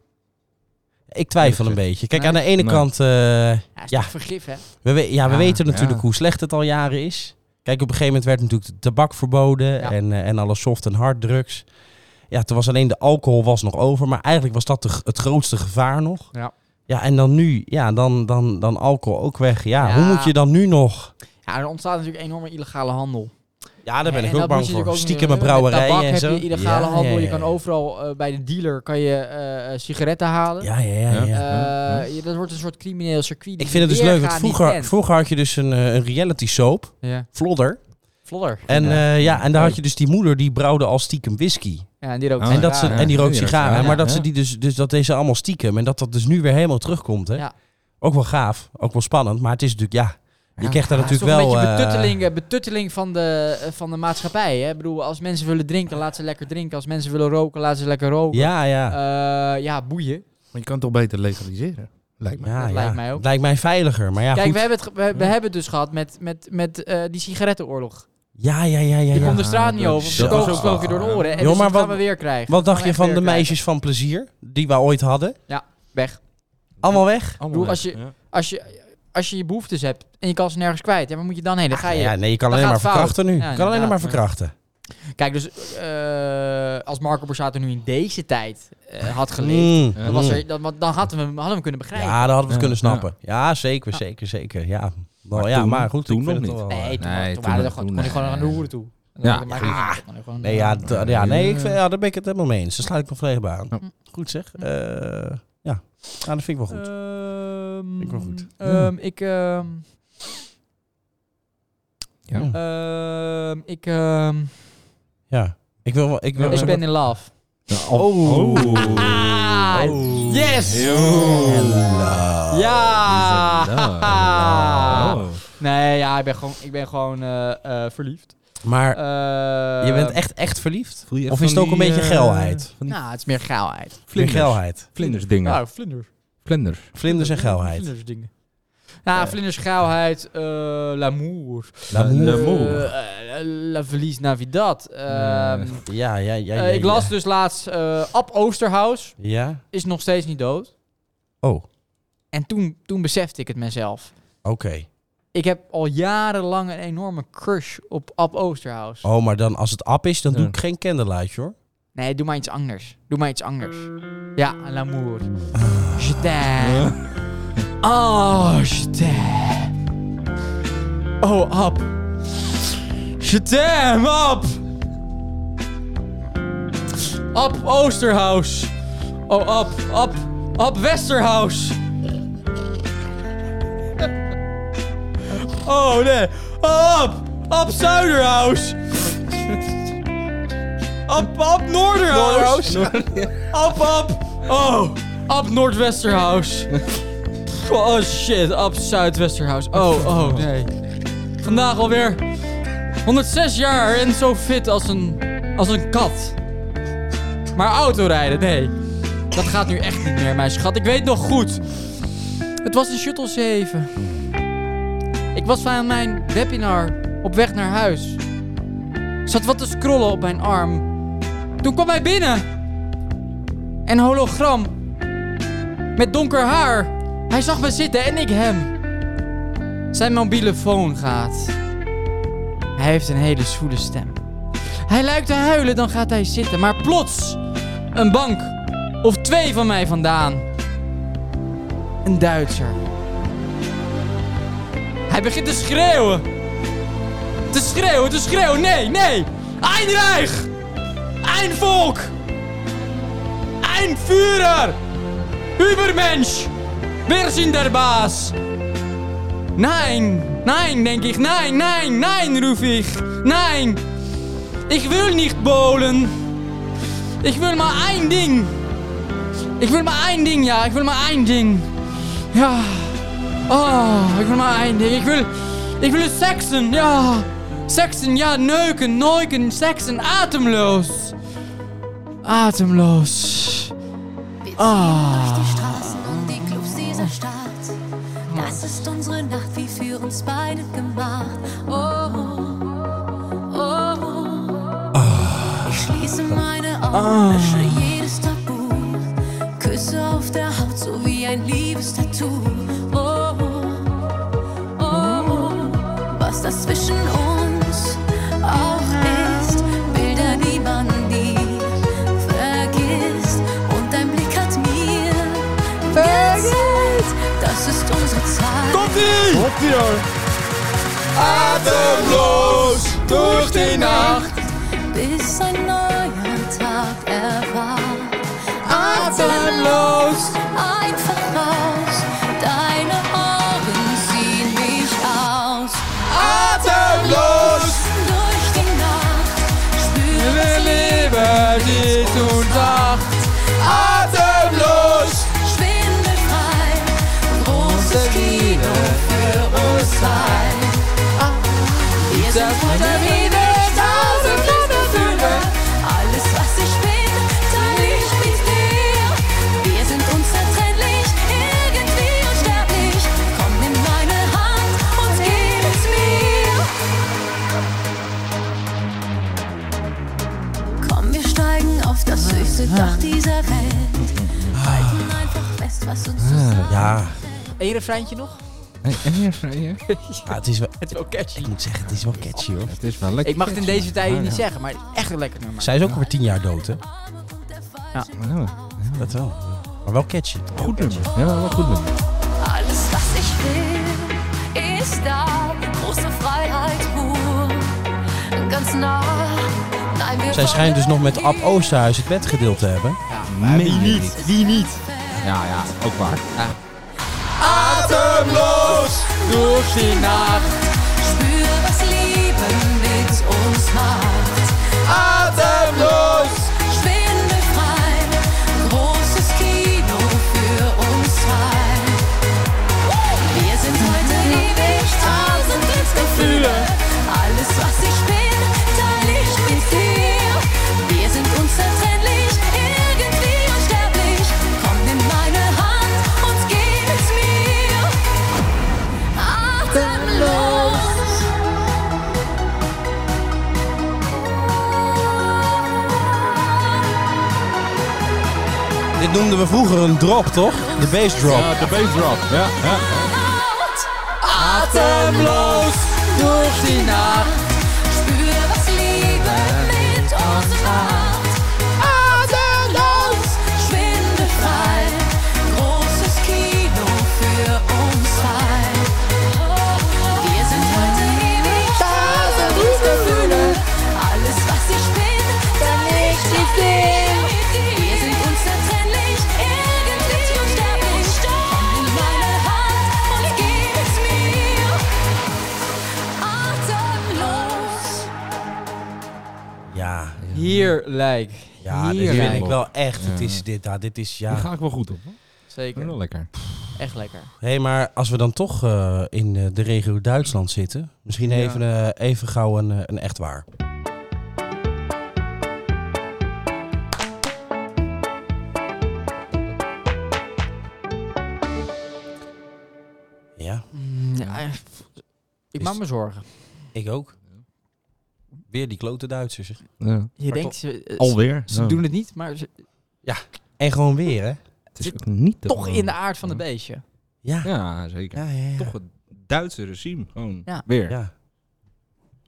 B: Ik twijfel een
C: Nee.
B: beetje. Kijk,
A: Nee.
B: aan de ene
C: Nee.
B: kant, eh,
A: ja, is
B: ja.
A: toch vergif, hè?
B: we, we- ja, we
C: Ja,
B: weten natuurlijk
C: ja.
B: hoe slecht het al jaren is. Kijk, op een gegeven moment werd natuurlijk de tabak verboden
A: Ja.
B: en, eh, en alle soft- en harddrugs. Ja, toen was alleen de alcohol was nog over, maar eigenlijk was dat de g- het grootste gevaar nog.
A: Ja.
B: Ja, en dan nu, ja, dan, dan, dan alcohol ook weg. Ja,
A: Ja.
B: hoe moet je dan nu nog?
A: Ja, er ontstaat natuurlijk enorme illegale handel.
B: Ja, daar ben
A: En
B: ik
A: dat
B: ook
A: moet
B: bang
A: je natuurlijk
B: voor.
A: ook
B: Stiekem
A: niet-
B: een brouwerij
A: Met tabak
B: en zo.
A: heb je illegale
B: Ja,
A: handel.
B: ja,
A: Je
B: ja,
A: kan
B: ja.
A: overal eh, bij de dealer kan je eh, eh, sigaretten halen.
B: Ja, ja, ja. ja.
C: Ja.
A: Eh, je- dat wordt een soort crimineel circuit. die
B: Ik vind het
A: je
B: dus
A: weer
B: leuk, want
A: gaan niet
B: vroeger,
A: kent.
B: vroeger had je dus een, eh, een reality soap,
A: Ja.
B: Vlodder.
A: Vlodder.
B: En,
C: Ja.
B: eh, ja, en daar had je dus die moeder, die brouwde al stiekem whisky.
A: Ja, en die ook.
C: Oh,
B: en, dat ze,
C: ja.
B: en die
C: Ja,
B: rookt
C: die rookt
B: sigaren.
C: sigaren,
B: maar dat
C: ja.
B: ze die dus, dus dat deze allemaal stiekem. En dat dat dus nu weer helemaal terugkomt. Hè?
A: Ja.
B: Ook wel gaaf. Ook wel spannend. Maar het is natuurlijk, ja. Je
C: Ja.
B: krijgt daar
A: Ja, het is
B: natuurlijk wel.
A: toch een
B: eh,
A: beetje betutteling, eh, betutteling van, de, eh, van de maatschappij. Hè? Ik bedoel, als mensen willen drinken, laat ze lekker drinken. Als mensen willen roken, laat ze lekker roken.
B: ja, ja.
A: Eh, ja boeien.
C: Maar je kan het toch beter legaliseren? Lijkt me.
B: ja,
A: dat
B: ja.
A: lijkt mij ook.
B: Lijkt mij veiliger. Maar ja,
A: Kijk,
B: goed. Hm.
A: we hebben het, ge- we, we hebben het dus gehad met, met, met eh, die sigarettenoorlog.
B: Ja, ja, ja, ja.
A: Die
B: ja.
A: komt de straat niet
C: dat
A: over.
C: is
A: Ze
B: zo
A: komen
B: gaaf.
A: gesproken door de oren. En
B: Joh,
A: dus
B: maar
A: dat gaan we
B: wat-
A: weer krijgen.
B: Wat dacht
A: Gaan
B: je
A: we
B: van
A: echt
B: de
A: weer
B: meisjes van plezier? Die we ooit hadden.
A: krijgen. Weg.
B: Allemaal weg?
C: Allemaal
A: Doe
C: weg,
A: als je-
C: ja.
A: Als je, als je je behoeftes hebt en je kan ze nergens kwijt, ja, waar moet je dan heen? Dan ga je.
B: Ah, Ja, nee, je kan
A: Dat
B: alleen maar
A: gaat fout.
B: verkrachten nu.
A: Ja,
B: Je kan alleen
A: inderdaad.
B: maar verkrachten.
A: Kijk, dus eh, als Marco Borsato nu in deze tijd eh, had geleefd,
B: Mm.
C: Ja.
A: dan, was er, dan, dan hadden, we, hem- hadden we hem kunnen begrijpen.
B: Ja, dan hadden we het
C: Ja,
B: kunnen
C: ja.
B: snappen. Ja, zeker, zeker, zeker. Ja, maar,
C: Maar
B: ja,
C: toen-
B: maar goed,
C: toen
B: ik vind
C: nog
B: het
C: niet.
B: wel, eh,
A: Nee, toen,
C: Nee,
A: nee, toen,
C: toen-
A: waren er gewoon,
C: toen-
A: kon je gewoon aan de hoeren toe.
C: Ja.
A: Maar-
C: Ja.
A: kon je gewoon,
B: Ah. Nee, ja,
A: eh,
B: d- ja, nee ik, vind- ja, daar ben ik het helemaal mee eens. Daar sluit ik me volledig bij aan.
C: Ja.
B: Goed zeg. Eh, ja. ja, dat vind ik wel
A: Eh.
B: goed. Hmm.
A: Ehm,
B: Ik wel goed.
A: ehm, ik, ehm,
C: Ja.
B: Ja.
A: ehm, ik, ehm,
B: ja. Ik wil wel... Ik wil
A: ik ben in love.
C: Oh.
A: Ah,
B: Oh.
A: yes!
B: Hello.
A: Ja! Ah.
C: Oh.
A: Nee, ja, ik ben gewoon, ik ben gewoon eh, eh, verliefd.
B: Maar je
A: Ehm,
B: bent echt, echt verliefd?
C: Voel je
B: Of
C: echt
B: is het
C: van
B: ook een
C: die,
B: beetje
C: eh,
B: geilheid?
C: Van die
A: Nou, het is meer gauwheid.
B: Meer
C: vlinders.
B: geilheid.
A: Ah.
C: Vlinders dingen.
A: vlinders.
C: Vlinders.
B: Vlinders en geilheid.
A: Vlinders dingen. Nou,
B: Eh.
A: vlindersgrauwheid, eh l'amour.
B: L'amour.
A: Eh, eh, la Verlies Navidad. Ehm,
C: Eh,
B: Ja, ja, ja.
A: eh,
B: ja,
A: ik
B: ja.
A: las dus laatst eh Ab Oosterhuis
B: Ja?
A: is nog steeds niet dood.
B: Oh, oké.
A: En toen, toen besefte ik het mezelf. Ik heb al jarenlang een enorme crush op Ab Oosterhuis.
B: Oh, maar dan als het app is, dan
C: Ja.
B: doe ik geen candlelight, hoor.
A: Nee, doe maar iets anders. Doe maar iets anders. Ja, l'amour.
B: Ah.
A: Je t'aime. Oh, je t'aime. Oh, Ab. Je t'aime, Ab. Ab Oosterhuis. Oh, Ab, Ab, Ab Westerhuis. Oh, nee. Oh, Ab, Ab Zuiderhuis. Ab, Ab Noorderhuis. Ab, ab. Oh, ab Noordwesterhuis. Pff, Oh shit, ab Zuidwesterhuis. Oh, oh nee. Vandaag alweer 106 jaar en zo fit als een, als een kat. Maar autorijden, nee. Dat gaat nu echt niet meer, mijn schat. Ik weet nog goed. Het was in Shuttle 7. Ik was van mijn webinar op weg naar huis. Zat wat te scrollen op mijn arm. Toen kwam hij binnen. Een hologram. Met donker haar. Hij zag me zitten en ik hem. Zijn mobiele phone gaat. Hij heeft een hele zwoele stem. Hij lijkt te huilen, dan gaat hij zitten. Maar plots, een bank of twee van mij vandaan. Een Duitser. Hij begint te schreeuwen. Te schreeuwen, te schreeuwen. Nee, nee. Ein Reich! Ein Volk! Ein Führer! Übermensch! Wir sind der Baas! Nein, nein, denk ich, nein, nein, nein, ruf ich! Nein! Ich will nicht bowlen! Ich will mal ein Ding! Ich will mal ein Ding, ja, ich will mal ein Ding! Ja! Oh, ich will mal ein Ding, ich will. Ich will sexen, ja! Sexen, ja, neuken, neuken, sexen, atemlos! Atemlos.
E: Wir ziehen durch die Straßen und die Clubs dieser Stadt. Das ist unsere Nacht, wie für uns beide gemacht. Oh, oh. Ich schließe meine Augen, lösche jedes Tabu. Küsse auf der Haut, so wie ein Liebestattoo. Oh, oh, oh. Was dazwischen uns auch ist, Bilder, die man nie vergisst. Und dein Blick hat mir gezeigt, das ist unsere Zeit.
A: Atemloos durch die Nacht.
E: bis ein neuer Tag erwacht.
A: Atemloos.
E: Einfach raus, deine Augen ziehen mich aus.
A: Atemloos.
E: Durch die Nacht
A: Wir
E: spüre
A: leben Lied und Nacht. Atemloos.
E: schwindelfrei. Großes Kino für uns zwei. Wir sind unterwegs, tausend kleine Fühler. Alles, was ich bin, teile ich mit dir. Wir sind unzertrennlich, irgendwie unsterblich. Komm, nimm meine Hand und gib es mir. Komm, wir steigen auf das höchste Dach dieser Welt. Halten einfach fest, was uns zusammen.
B: Ja,
A: Eén refreintje nog?
C: Hey, en hier, en hier.
B: ja het is wel...
A: Het is wel catchy.
B: Ik moet zeggen, het is wel catchy, hoor.
C: Het is wel lekker.
A: Ik mag het in deze
C: Ah,
A: tijden niet zeggen, maar het is echt een lekker nummer.
B: Zij is ook weer tien jaar dood, hè?
C: Ja,
B: Dat wel. Maar wel catchy.
C: goed nummer. Ja, wel goed nummer.
E: Alles, was ich will, ist da. Große Freiheit, Ruhe, ganz nah. Nein, wir
B: Zij schijnt dus nog met Ab Oh,
E: Oost.
B: Oosterhuis het bedgedeeld te hebben.
C: Nee, niet.
E: Wie niet?
C: Ja, ja, ook waar.
A: Atemloos durch die Nacht.
E: Spür, was Liebe mit uns macht.
A: Atemloos.
E: Schwindelfrei, großes Kino für uns zwei. Wir sind heute ewig, tausend Glücksgefühle. Alles, was ich bin, teile ich mit dir. Wir sind unzertrennlich, irgendwie unsterblich. Komm, nimm meine Hand und geh mit mir.
B: noemden we vroeger een drop, toch? De bass drop.
C: Ja, de bass drop. Ja, ja.
F: Atemloos durch die Nacht.
E: Spür, was Liebe mit uns macht. Atemlos, schwindelfrei. Großes Kino für uns frei. Wir sind heute ewig da, sind Gefühle. Alles, was ich bin, kann ich nicht gehen. Wir sind unzertrennlich, irgendwie unsterblich. Komm in meine Hand und gib's mir. Atemlos.
B: Ja,
F: Heerlijk.
B: ja dit
F: Heerlijk.
B: vind ik wel echt.
C: Ja.
B: Het is dit, ja, dit is
C: Daar
B: ja.
C: ga ik wel goed op. hoor. Ik vind
F: Zeker.
C: wel lekker.
F: Echt lekker.
B: Hé, hey, maar als we dan toch eh, in eh, de regio Duitsland zitten, misschien
C: Ja.
B: even, eh, even gauw een, eh, een echt waar. Ja,
F: Ja, eh, ik maak me zorgen.
B: ik ook. Weer die klote Duitsers. zeg.
C: Ja.
F: Je denkt, ze, eh, ze,
C: Alweer.
F: ze
C: Ja.
F: doen het niet, maar ze,
B: En gewoon weer, hè?
C: Het is ook niet te
F: toch in de
C: geloven.
F: aard van het beestje.
B: Ja.
C: Ja, zeker.
B: Ja, ja, ja.
C: Toch het Duitse regime gewoon.
F: Ja.
C: Weer.
B: Ja.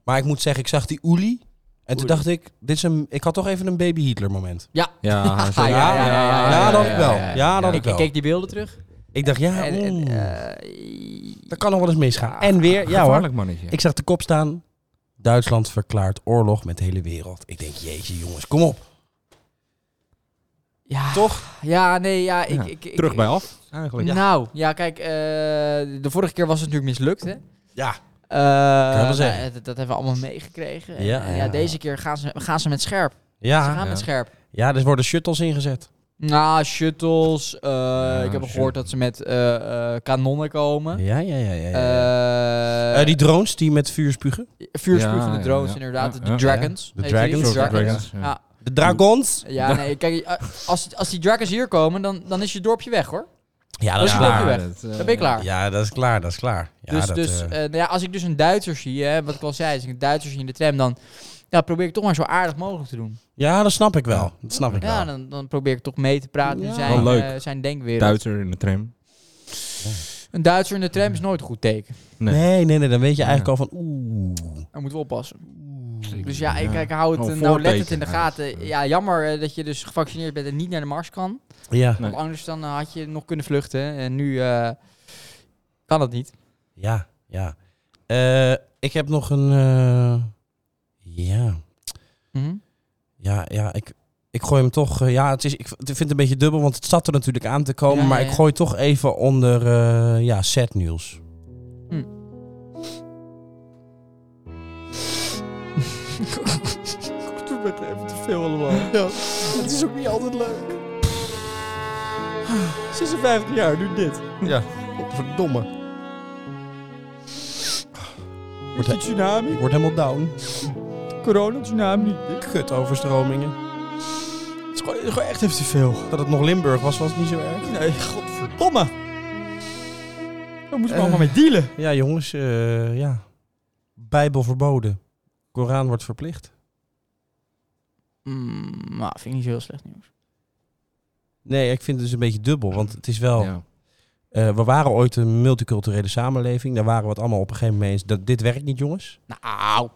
B: Maar ik moet zeggen, ik zag die Uli. En toen
F: Uli.
B: dacht ik, dit is een, ik had toch even een baby Hitler moment.
C: Ja,
F: Ah, ja, ja, ja, ja,
B: Ja, dat ik wel.
F: ja, ja.
B: Ja, dat
F: ik,
B: ik wel.
F: keek die beelden terug.
B: Ik dacht, ja,
F: en, en,
B: oeh,
F: eh,
B: dat kan nog wel eens misgaan. En weer, ja hoor.
C: Gevaarlijk mannetje.
B: Ik zag de kop staan. Duitsland verklaart oorlog met de hele wereld. Ik denk, jeetje jongens, kom op.
F: ja,
B: Toch?
F: ja, nee, ja. Ik,
C: Ja,
F: Ik, ik,
C: Terug
F: ik-
C: bij af,
B: Oh,
C: eigenlijk.
F: Nou, ja, kijk, eh, de vorige keer was het natuurlijk mislukt, hè?
B: Ja.
F: Eh,
B: wel
F: nou,
B: zeggen.
F: eh, dat, dat hebben we allemaal meegekregen. En,
B: Ja,
F: eh, ja,
B: ja. Ah,
F: deze keer gaan ze, gaan ze met scherp. ze gaan
B: Ja,
C: ja.
F: met scherp.
B: ja, er worden shuttles ingezet.
F: Nou, shuttles. eh,
B: Ah,
F: ik heb
C: shut-
F: gehoord dat ze met eh, eh, kanonnen komen.
B: Ja, ja, ja. ja, ja.
F: Eh,
B: Eh, die drones die met vuur spugen.
F: vuurspurgende
C: Ja, ja,
F: drones,
C: ja.
F: inderdaad.
C: Ja,
F: de
C: ja,
F: Dragons.
B: ja. De
F: heet die,
B: Dragons.
F: de
B: Soort
C: Dragons, ja.
F: Ja,
B: De dragons.
F: Ja, nee, kijk, eh, als, als die Dragons hier komen, dan, dan is je dorpje weg, hoor.
B: Ja, dat
F: Dus
B: is
F: die lopen
B: klaar.
F: weg.
C: dat, eh,
F: Dan ben je klaar.
B: Ja, dat is klaar, dat is klaar. Ja,
F: dus
B: dat,
F: dus
B: eh,
F: eh, nou ja, als ik dus een Duitser zie, hè, wat ik al zei, als ik een Duitser zie in de tram, dan ja, probeer ik toch maar zo aardig mogelijk te doen.
B: ja, dat snap ik wel. Dat snap ik
F: Ja,
B: wel.
F: dan, dan probeer ik toch mee te praten in
B: Ja.
F: zijn,
C: Wel leuk.
F: eh, zijn denkwereld.
C: Duitser in de tram.
F: Een Duitser in de tram is nooit een goed teken.
C: Nee.
B: Nee, nee, nee, dan weet je eigenlijk al van oeh.
F: Daar moeten we oppassen. Dus ja, ik, ik hou het
C: Gewoon
F: eh, nauwlettend
C: voorteken
F: in de gaten.
C: eigenlijk.
F: Ja, jammer eh, dat je dus gevaccineerd bent en niet naar de Mars kan.
B: Ja,
C: Nee.
F: Want anders dan eh, had je nog kunnen vluchten. En nu eh, kan dat niet.
B: ja, ja. Eh, ik heb nog een. eh, ja,
F: Mhm.
B: ja, ja. Ik, ik gooi hem toch. eh, ja, het is, ik v- ik vind het een beetje dubbel, want het zat er natuurlijk aan te komen.
F: Ja, ja,
B: maar ik
F: ja.
B: gooi toch even onder. eh, ja, set nieuws.
F: Hm.
B: Toen werd even te veel allemaal. Ja, het is ook niet altijd leuk.
F: 56 jaar, nu dit.
B: Ja, verdomme. Wordt
F: Die tsunami,
B: Ik word helemaal down.
F: corona tsunami.
B: Kut overstromingen. Het is gewoon, echt even te veel. Dat het nog Limburg was, was niet zo erg.
F: Nee, godverdomme. Daar moeten we
B: Eh.
F: allemaal mee dealen.
B: Ja, jongens, eh, ja. Bijbel verboden. Koran wordt verplicht.
F: Mm, nou, vind ik niet zo heel slecht nieuws.
B: Nee, ik vind het dus een beetje dubbel, want het is wel...
C: Ja.
B: eh, we waren ooit een multiculturele samenleving. Daar waren we het allemaal op een gegeven moment eens. Dat, dit werkt niet, jongens.
F: Nou.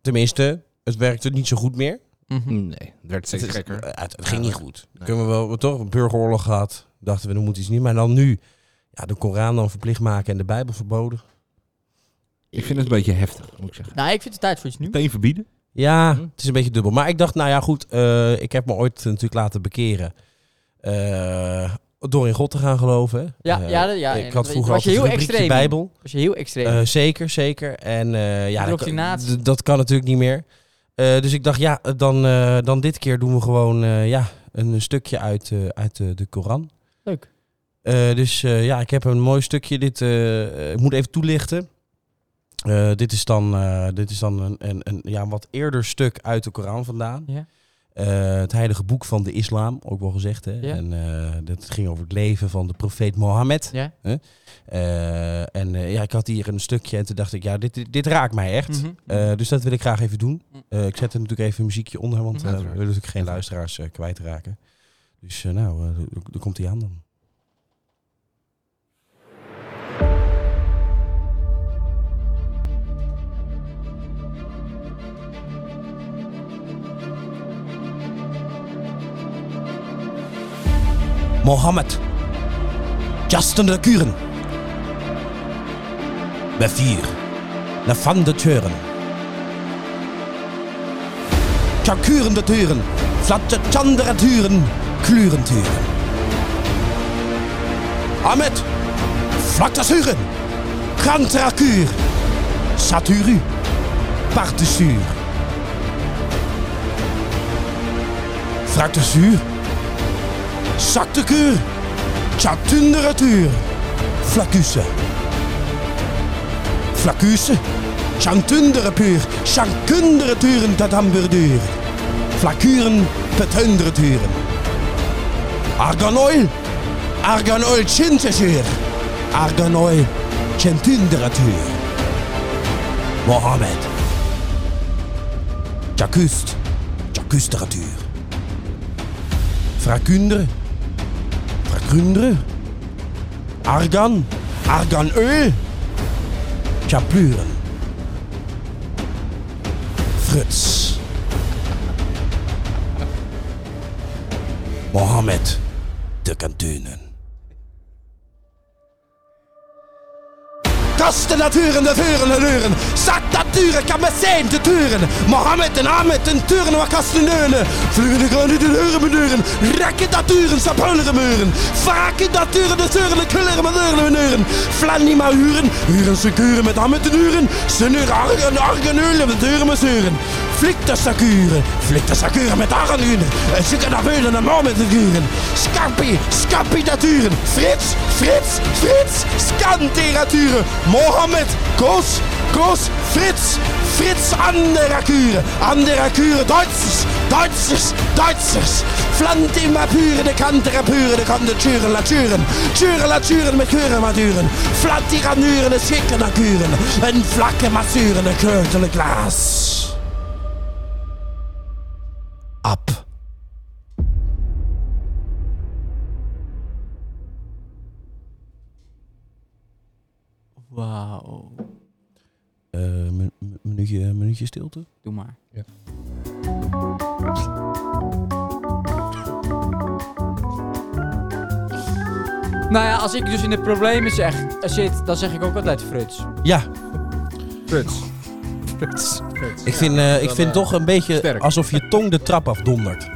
B: Tenminste, het werkte niet zo goed meer.
F: Mhm.
C: Nee, het werd steeds
B: Het is-
C: gekker.
B: eh, Het, het ging
C: Ja,
B: niet
C: dat-
B: goed.
C: nee.
B: Kunnen we wel, we toch een burgeroorlog gehad. Dachten we, dan moet iets niet. Maar dan nu, ja, de Koran dan verplicht maken en de Bijbel verboden.
C: Ik vind het een beetje heftig, moet ik zeggen.
F: Nou, ik vind het tijd voor iets nieuws.
C: Meteen verbieden.
B: Ja,
F: Mhm.
C: Hm?
B: het is een beetje dubbel. Maar ik dacht, nou ja, goed, eh, ik heb me ooit natuurlijk laten bekeren. eh, door in God te gaan geloven. hè.
F: Ja,
B: Eh,
F: ja, dat- ja,
B: ik
F: en
B: had
F: dat
B: vroeger
F: was je
B: altijd
F: heel
B: een rubriekje
F: extreem in.
B: Bijbel.
F: Dat is heel extreem.
B: Eh, zeker, zeker. En eh, ja, dat, kan-
F: Indoctrinatie.
B: d- dat kan natuurlijk niet meer. Eh, dus ik dacht, ja, dan, eh, dan dit keer doen we gewoon eh, ja, een stukje uit, eh, uit eh, de Koran.
F: Leuk.
B: Eh, dus eh, ja, ik heb een mooi stukje. Dit, eh, ik moet even toelichten. Eh, dit is dan, eh, dit is dan een, een, een ja, wat eerder stuk uit de Koran vandaan.
F: Ja.
B: Eh, het heilige boek van de islam, ook wel gezegd. Hè?
F: Ja.
B: En eh, dat ging over het leven van de profeet Mohammed.
F: Ja.
B: Hè? Eh, en eh, ja, ik had hier een stukje en toen dacht ik, ja, dit, dit, dit raakt mij echt.
F: Mhm.
B: Eh, dus dat wil ik graag even doen.
F: Mm.
B: Eh, ik zet er natuurlijk even een muziekje onder, want
F: Mhm.
B: eh, we
C: Uiteraard.
B: willen natuurlijk geen luisteraars eh, kwijtraken. Dus eh, nou, eh, daar- daar komt hij aan dan. Mohammed. Justin de Kuren. Bij vier. Le van de Teuren. Tjakuren de Teuren. Flatte Tjandere Turen. Klurenturen. Ahmed. Vlakte Suren. Kantrakuur. Saturu. Partesuur. Frakte Suur. Zakte Kuur. Tjatundere Tuur. Flakusse. Flacuse, Chantundere puur, Chankundere turen dat hamburduur. Flacuren, petundere turen. Arganoil, Arganoil chintesuur, Arganoil chintundere tuur. Mohammed. Jacust, Jacustere tuur. Fracundere, Fracundere. Argan, Arganöl. Tjapuren. Fruts. Mohammed de Kantunen. Kasten naturen, de vuren, de luren. Zak naturen, kan me zijn te turen. Mohammed en Ahmed en turen, waar kasten neunen. Vlugen de groene de deuren benuren. Rekken naturen, sapuleren muren. Vaken naturen, de zeuren, de kulleren, met deuren, benuren. Flanima huren, huren ze kuren met Ahmed en uren. Ze neuren, argen, argen, uren, met deuren, met zeuren. Flikte sakuren, flikte sakuren met argenuren. En zoeken naar beulen en Mohammed en kuren. Scampie, scampie naturen. Frits, Frits, Frits, scanteraturen. Mohammed, Koos, Koos, Fritz, Fritz Anderaküre, Anderaküre, Deutsches, Deutsches, Deutsches. Flantima pure, de kantere pure, de kante tjuren la tjuren. Tjuren la tjuren met kuren maduren. Flatiranduren, de schikken naar kuren. En vlakke masuren, de keurtele glaas. Ab.
F: Wauw.
B: minuutje, minuutje stilte.
F: Doe maar. Nou ja, als ik dus in de problemen zeg, eh, zit, dan zeg ik ook altijd Fruts.
B: Ja,
C: Fruts. Fruts. Fruts.
B: ik vind, eh, ik vind toch een beetje
C: Sterk.
B: alsof je tong de trap afdondert.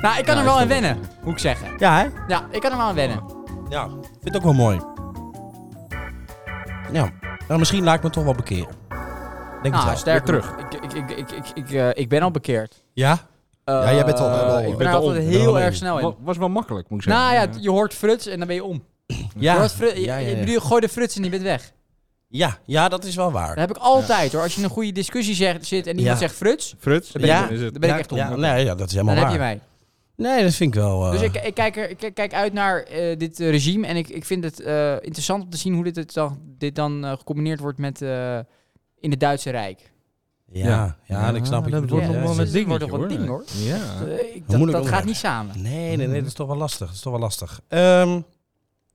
F: Nou, ik kan
C: Ja,
F: er wel
C: ik
F: aan
C: vind
F: wennen, moet ik zeggen.
B: Ja, hè?
F: Ja, ik kan er wel aan
B: Oh,
F: wennen.
B: Ja, vind het ook wel mooi. Ja, nou, misschien laat ik me toch wel bekeren. Denk het
F: Nou,
B: wel.
F: sterker
C: Weer
F: terug. Ik, ik, ik, ik, ik, ik, eh, ik ben al bekeerd.
B: Ja?
F: Eh,
G: jij bent al- al-
F: ik
G: al-
F: ben er
C: al-
F: altijd
C: ben
B: er al
F: heel
B: in.
F: erg snel in.
C: Wa- Was wel makkelijk, moet ik zeggen.
F: Nou ja, t- je hoort Fruts en dan ben je om. Je
B: Ja.
F: hoort Fru-
B: ja, ja,
F: Ik
B: ja.
F: bedoel, gooi de Fruts en je bent weg.
B: Ja, ja, dat is wel
F: Dat
B: waar.
F: heb ik altijd hoor. Als je in een goede discussie zegt, zit en iemand
B: Ja.
F: zegt Fruts,
C: Fruts.
F: dan ben,
B: Ja,
F: ik,
C: is het.
F: dan ben ik
B: Ja,
F: echt om.
B: Ja, nee, ja, dat is helemaal
F: dan heb
B: waar.
F: je mij.
B: Nee, dat vind ik wel... eh,
F: Dus ik, ik, kijk er, ik ik kijk uit naar eh, dit eh, regime en ik, ik vind het eh, interessant om te zien hoe dit, het dan, dit dan eh, gecombineerd wordt met eh, in het Duitse Rijk.
B: ja, ja, en ik snap
C: Ja,
B: je
C: dat wordt
B: bedoelt,
C: nog
B: hè.
C: wel een
F: het
C: dingetje,
F: wordt nog wel
C: hoor.
F: een ding, hoor.
C: Ja.
F: Eh, ik-
B: Moeilijk
F: dat dat gaat
B: onderwerp.
F: niet samen.
B: Nee, nee, nee, dat is toch wel lastig. Dat is toch wel lastig. Ehm,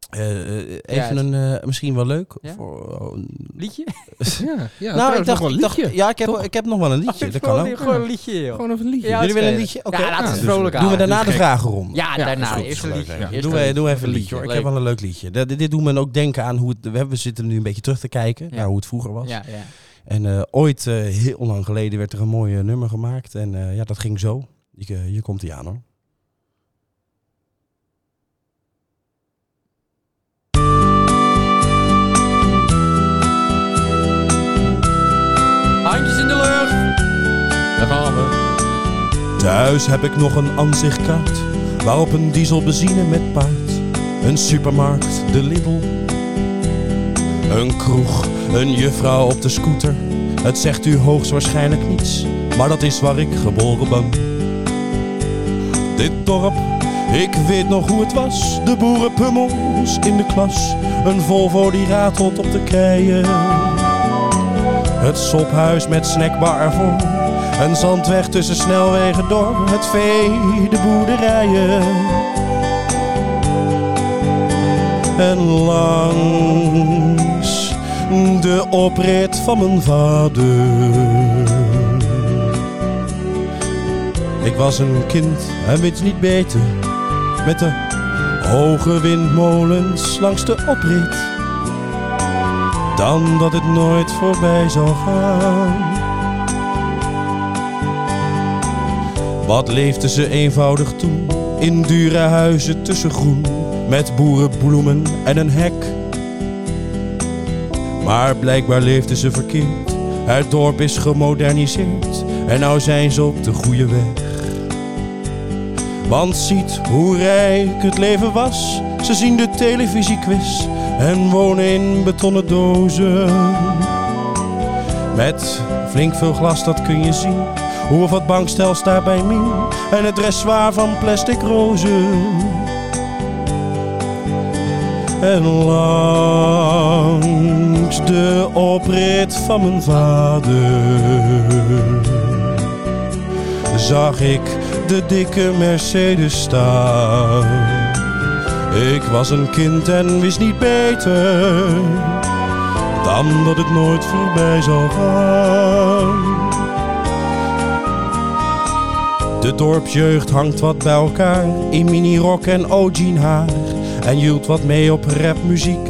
B: eh, eh, even
F: het-
B: een, eh, misschien wel leuk.
F: Ja?
B: Voor,
F: Liedje?
C: Ja, ja
B: nou, ik
C: trouwens nog
B: dacht,
C: wel een
B: ik dacht-
C: liedje.
B: ja, ik heb, ik heb nog wel een liedje. Dat kan ook.
F: Gewoon een liedje, joh.
C: Gewoon even een liedje.
F: Ja,
B: Jullie willen een
F: spelen.
B: liedje? Oké.
F: Ja, laten we
C: Ja,
F: het
C: dus
F: vrolijk
B: Doen we
F: houden.
B: daarna
C: Doe
B: de
C: gek.
B: vragenronde?
F: Ja,
C: Ja, is
F: daarna.
C: goed.
F: Eerst een
G: Gelijk
F: liedje.
G: zeggen.
F: Eerst
B: Doe,
F: een
B: eh,
F: liedje.
B: doe even een
C: Leuk.
B: liedje hoor. Ik
F: Leuk.
B: heb wel een leuk liedje. Dat- dit doet me ook denken aan hoe het, we, hebben- we zitten nu een beetje terug te kijken
F: Ja.
B: naar hoe het vroeger was.
F: Ja, ja.
B: En eh, ooit, eh, heel lang geleden, werd er een mooi eh, nummer gemaakt. En eh, ja, dat ging zo. Ik, eh, hier komt hij aan hoor.
F: Handjes in de lucht.
C: Daar gaan we.
B: Thuis heb ik nog een aanzichtkaart, waarop een diesel benzine met paard. Een supermarkt, de Lidl. Een kroeg, een juffrouw op de scooter. Het zegt u hoogstwaarschijnlijk niets, maar dat is waar ik geboren ben. Dit dorp, ik weet nog hoe het was. De boerenpummels in de klas. Een Volvo die ratelt op de keien. Het sophuis met snackbar ervoor. Een zandweg tussen snelwegen door. Het vee, de boerderijen. en langs de oprit van mijn vader. Ik was een kind en wist niet beter. Met de hoge windmolens langs de oprit. Dan dat het nooit voorbij zou gaan. Wat leefden ze eenvoudig toen in dure huizen tussen groen. Met boerenbloemen en een hek. Maar blijkbaar leefden ze verkeerd. Het dorp is gemoderniseerd en nou zijn ze op de goede weg. Want ziet hoe rijk het leven was. Ze zien de televisiequiz en wonen in betonnen dozen. Met flink veel glas, dat kun je zien. Hoe of het bankstel staat bij Mien en het dressoir van plastic rozen. En langs de oprit van mijn vader zag ik de dikke Mercedes staan. Ik was een kind en wist niet beter dan dat het nooit voorbij zou gaan. De dorpsjeugd hangt wat bij elkaar in minirok en jean haar en hield wat mee op rapmuziek.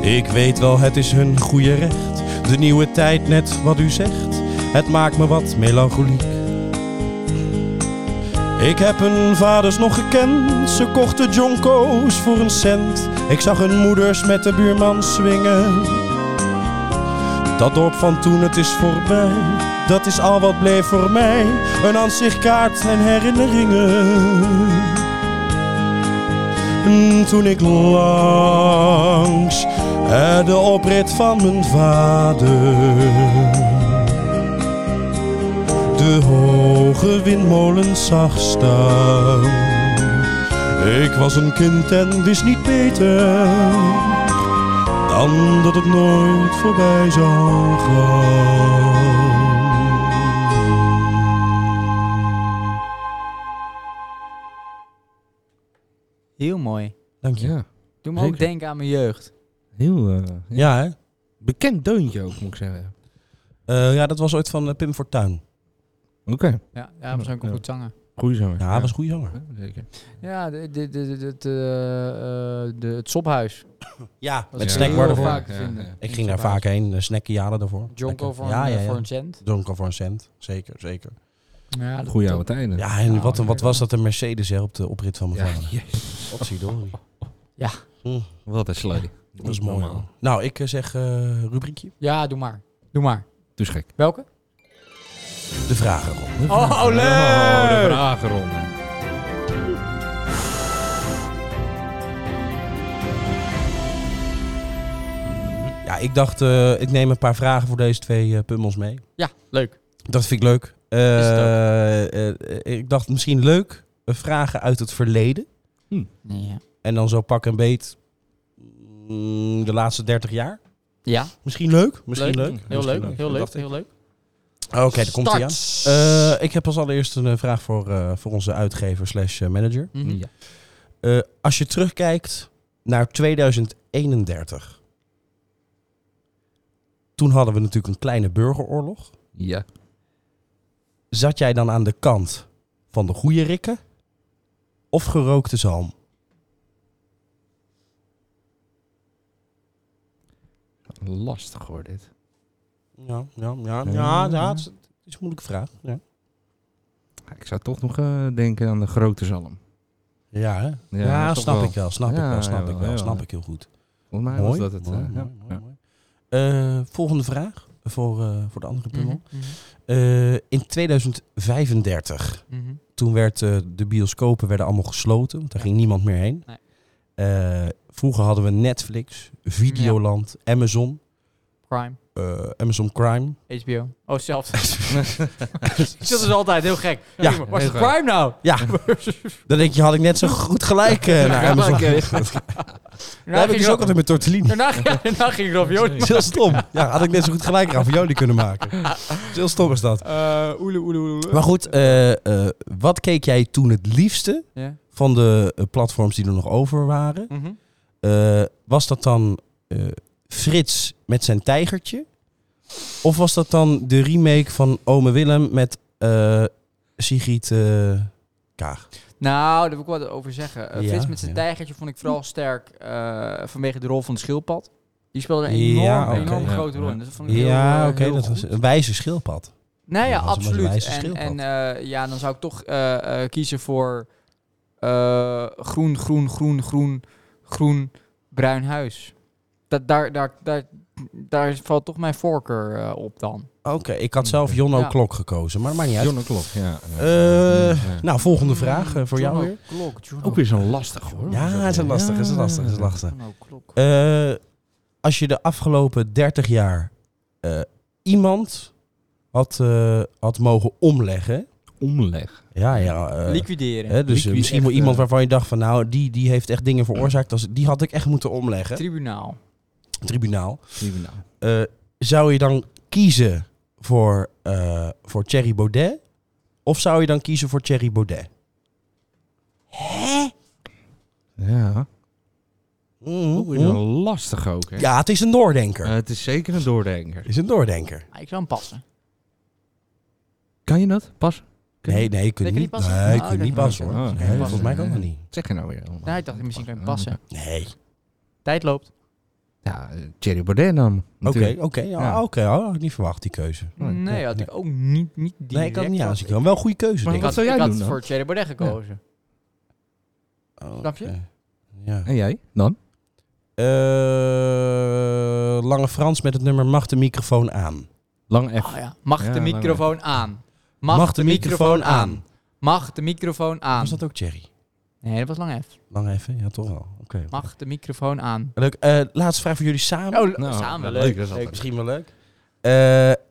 B: Ik weet wel, het is hun goede recht. De nieuwe tijd, net wat u zegt, het maakt me wat melancholiek. Ik heb hun vaders nog gekend, ze kochten jonko's voor een cent. Ik zag hun moeders met de buurman swingen. Dat dorp van toen, het is voorbij. Dat is al wat bleef voor mij. Een ansichtkaart en herinneringen. Mm, toen ik langs eh, de oprit van mijn vader de hoge windmolens zag staan. Ik was een kind en wist niet beter dan dat het nooit voorbij zou gaan.
A: Heel mooi.
B: Dank
C: Ja,
A: Doe me ook
C: Zeker.
A: denken aan mijn jeugd.
C: heel eh,
B: Ja, hè?
C: bekend deuntje ook, moet ik zeggen.
B: Eh, ja, dat was ooit van eh, Pim Fortuyn.
C: Oké,
A: Ja, ja maar zo kan ik goed zangen.
C: goeie zanger.
B: Ja, hij was een goede zanger.
C: Ja, zeker.
A: Ja, de, de, de, de, de, eh, eh, de- het sophuis.
B: Ja,
A: Dat
B: met
A: is
B: snackbar
A: heel
B: ervoor.
A: vaak te
C: Ja,
A: vinden.
C: ja.
B: Ik ging daar vaak heen, eh, snacken jaren daarvoor.
A: Jonko
B: Lekker.
A: voor,
B: ja,
A: een-
B: ja,
A: eh,
B: ja.
A: voor een cent.
B: Jonko voor een cent. Zeker, zeker.
A: Ja, dat-
C: Goeie
A: dat-
C: oude tijden.
B: Ja, en
A: Ja,
B: wat, wat
A: lekker.
B: was dat een Mercedes hè, op de oprit van mijn
C: Ja,
B: vader? Potverdorie.
A: Ja.
B: Hm,
C: Wat een slurry.
B: dat is mooi. man. Nou, ik eh, zeg eh, rubriekje.
A: Ja, doe maar. Doe maar.
C: Dus gek.
A: Welke?
B: De vragenronde.
A: Oh,
C: Oh, de
A: leuk!
C: vragenronde.
B: Ja, ik dacht, eh, ik neem een paar vragen voor deze twee eh, pummels mee.
A: Ja, leuk.
B: Dat vind ik leuk. Eh,
A: Is het ook.
B: eh, eh, ik dacht misschien leuk, eh, vragen uit het verleden.
A: Ja.
B: En dan zo pak en beet mm, de laatste 30 jaar.
A: Ja,
B: Misschien leuk, misschien leuk.
A: Heel
B: Misschien
A: leuk, heel leuk,
B: dacht ik.
A: heel leuk.
B: Oké, daar komt hij aan. Eh, ik heb als allereerst een eh, vraag voor, eh, voor onze uitgever slash eh, manager.
A: Mhm.
C: Ja.
B: Eh, als je terugkijkt naar 2031. Toen hadden we natuurlijk een kleine burgeroorlog.
C: Ja.
B: Zat jij dan aan de kant van de goede rikken of gerookte zalm?
C: Lastig hoor dit.
B: Ja, ja, ja,
C: ja, ja,
B: het
C: het
B: is,
C: is-
B: een moeilijke vraag. Ja,
C: Ja, Ik zou toch nog eh, denken aan de grote zalm.
B: hè? ja,
C: dat is toch
B: snap
C: wel-
B: ik wel, snap ik
C: Ja,
B: wel, snap ik
C: jawel,
B: wel,
C: jawel.
B: snap ik heel goed.
C: Volgens mij
B: Mooi.
C: was dat het.
B: mooi,
C: eh,
B: mooi,
C: ja.
B: mooi,
C: Ja.
B: mooi. Eh, volgende vraag voor, eh, voor de andere
A: Mhm,
B: pummel.
A: mhm,
B: Eh, in 2035
A: mhm.
B: toen werd, eh, de bioscopen werden allemaal gesloten, want daar ging niemand meer heen.
A: Nee.
B: Eh, vroeger hadden we Netflix, Videoland, Amazon,
A: Crime.
B: eh, Amazon Crime.
A: HBO. Oh, zelfs. dat is altijd heel gek.
B: Ja.
A: Ja, waar is de
C: Heel gek.
A: crime nou?
B: Ja, dan denk je, had ik net zo goed gelijk eh, naar Amazon gericht. Daar heb ik dus ook altijd met tortellini.
A: Daarna, ja, daarna ging ik
B: Dat
A: ravioli.
B: is heel stom. Ja, had ik net zo goed gelijk ravioli kunnen maken. Dat is heel stom is dat.
A: Eh, Oele, oele, oele.
B: Maar goed, eh, eh, wat keek jij toen het liefste
A: Ja.
B: van de eh, platforms die er nog over waren.
F: Mm-hmm.
B: Eh, was dat dan eh, Frits met zijn tijgertje? Of was dat dan de remake van Ome Willem met eh, Sigrid eh, Kaag?
F: Nou, daar wil ik wel wat over zeggen. Eh,
B: Ja,
F: Frits met zijn
B: ja.
F: tijgertje vond ik vooral sterk eh, vanwege de rol van de schildpad. Die speelde een enorm,
B: Ja, oké,
F: enorm
C: ja.
F: grote rol in. Dus dat vond ik heel,
B: Ja,
F: eh,
B: oké,
F: heel
B: dat
F: goed.
B: was een wijze schildpad.
F: Nou ja,
B: Ja, dat is een
F: absoluut.
B: wijze
F: En,
B: schildpad.
F: en eh, ja, dan zou ik toch eh, eh, kiezen voor eh, groen, groen, groen, groen, groen, bruin huis. Dat, daar, daar, daar, daar valt toch mijn voorkeur eh, op dan.
B: Oké, ik had zelf Jonno
F: Ja.
B: Klok gekozen, maar maakt niet uit.
C: Jonne Klok, ja.
B: Eh,
C: Ja.
B: Nou, volgende vraag eh, voor jou
F: Johnno
B: weer.
F: Klok, Johnno
C: Ook weer zo'n lastig hoor.
B: Ja, het is een lastige, het is een lastige, het is een lastige.
F: Johnno Klok.
B: Eh, als je de afgelopen 30 jaar eh, iemand had, eh, had mogen omleggen.
C: Omleg.
B: Ja, ja. eh,
F: Liquideren.
B: hè, dus
C: Liquid
B: misschien
C: echt,
B: wel iemand
C: eh,
B: waarvan je dacht van nou, die, die heeft echt dingen veroorzaakt. Als, die had ik echt moeten omleggen.
F: Tribunaal.
B: Tribunaal.
C: Tribunaal.
B: Eh, zou je dan kiezen voor, eh, voor Thierry Baudet? Of zou je dan kiezen voor Thierry Baudet?
C: Ja.
B: Mm,
C: Ook weer
B: mm.
C: zo'n lastig ook hè.
B: Ja, het is een doordenker.
C: Eh, het is zeker een doordenker.
B: Het is een doordenker.
F: Ah, ik zou hem passen.
C: Kan je dat? Pas? Kun je-
B: Nee, nee, je
F: Nee,
B: kunt
F: kan
B: niet
F: niet passen?
B: Nee, je
F: Ah,
B: kunt
F: oké.
B: niet passen hoor.
C: Ah, oké.
B: Nee,
C: Passen,
B: volgens mij kan
C: nee.
B: dat niet.
C: Zeg je nou weer allemaal. Oh,
F: Nou, ik dacht, misschien kan je passen.
B: Nee.
F: Tijd loopt.
C: Ja, eh, Thierry Baudet dan.
B: Oké,
C: natuurlijk.
B: oké. ja,
C: Ja.
B: Oké, oh, had ik niet verwacht die keuze.
C: Oh, Nee,
F: Nee, had ik ook niet, niet direct.
B: Nee, ik had niet
F: wat-
B: aan zien komen. Wel een goede keuze,
C: Maar
B: denk ik.
F: Ik had,
C: zou jij
F: ik had
C: doen dan?
F: voor Thierry Baudet gekozen.
B: Oh,
F: Snap je?
B: oké. Ja.
C: En jij dan?
B: Eh, Lange Frans met het nummer Mag de microfoon aan.
C: Lang F.
F: Ah, ja. Mag
C: Ja,
F: de
C: lang
F: microfoon aan? Mag, de, microfoon, aan? Mag de microfoon aan?
B: Was dat ook Thierry?
F: Nee, dat was lang F.
B: Lang even, ja toch wel. Oké. oké.
F: Mag de microfoon aan?
B: Leuk. Eh, laatste vraag voor jullie samen.
F: Oh,
C: Nou,
F: samen.
C: ja,
F: leuk.
C: leuk, dat is altijd.
B: Misschien wel leuk. Eh,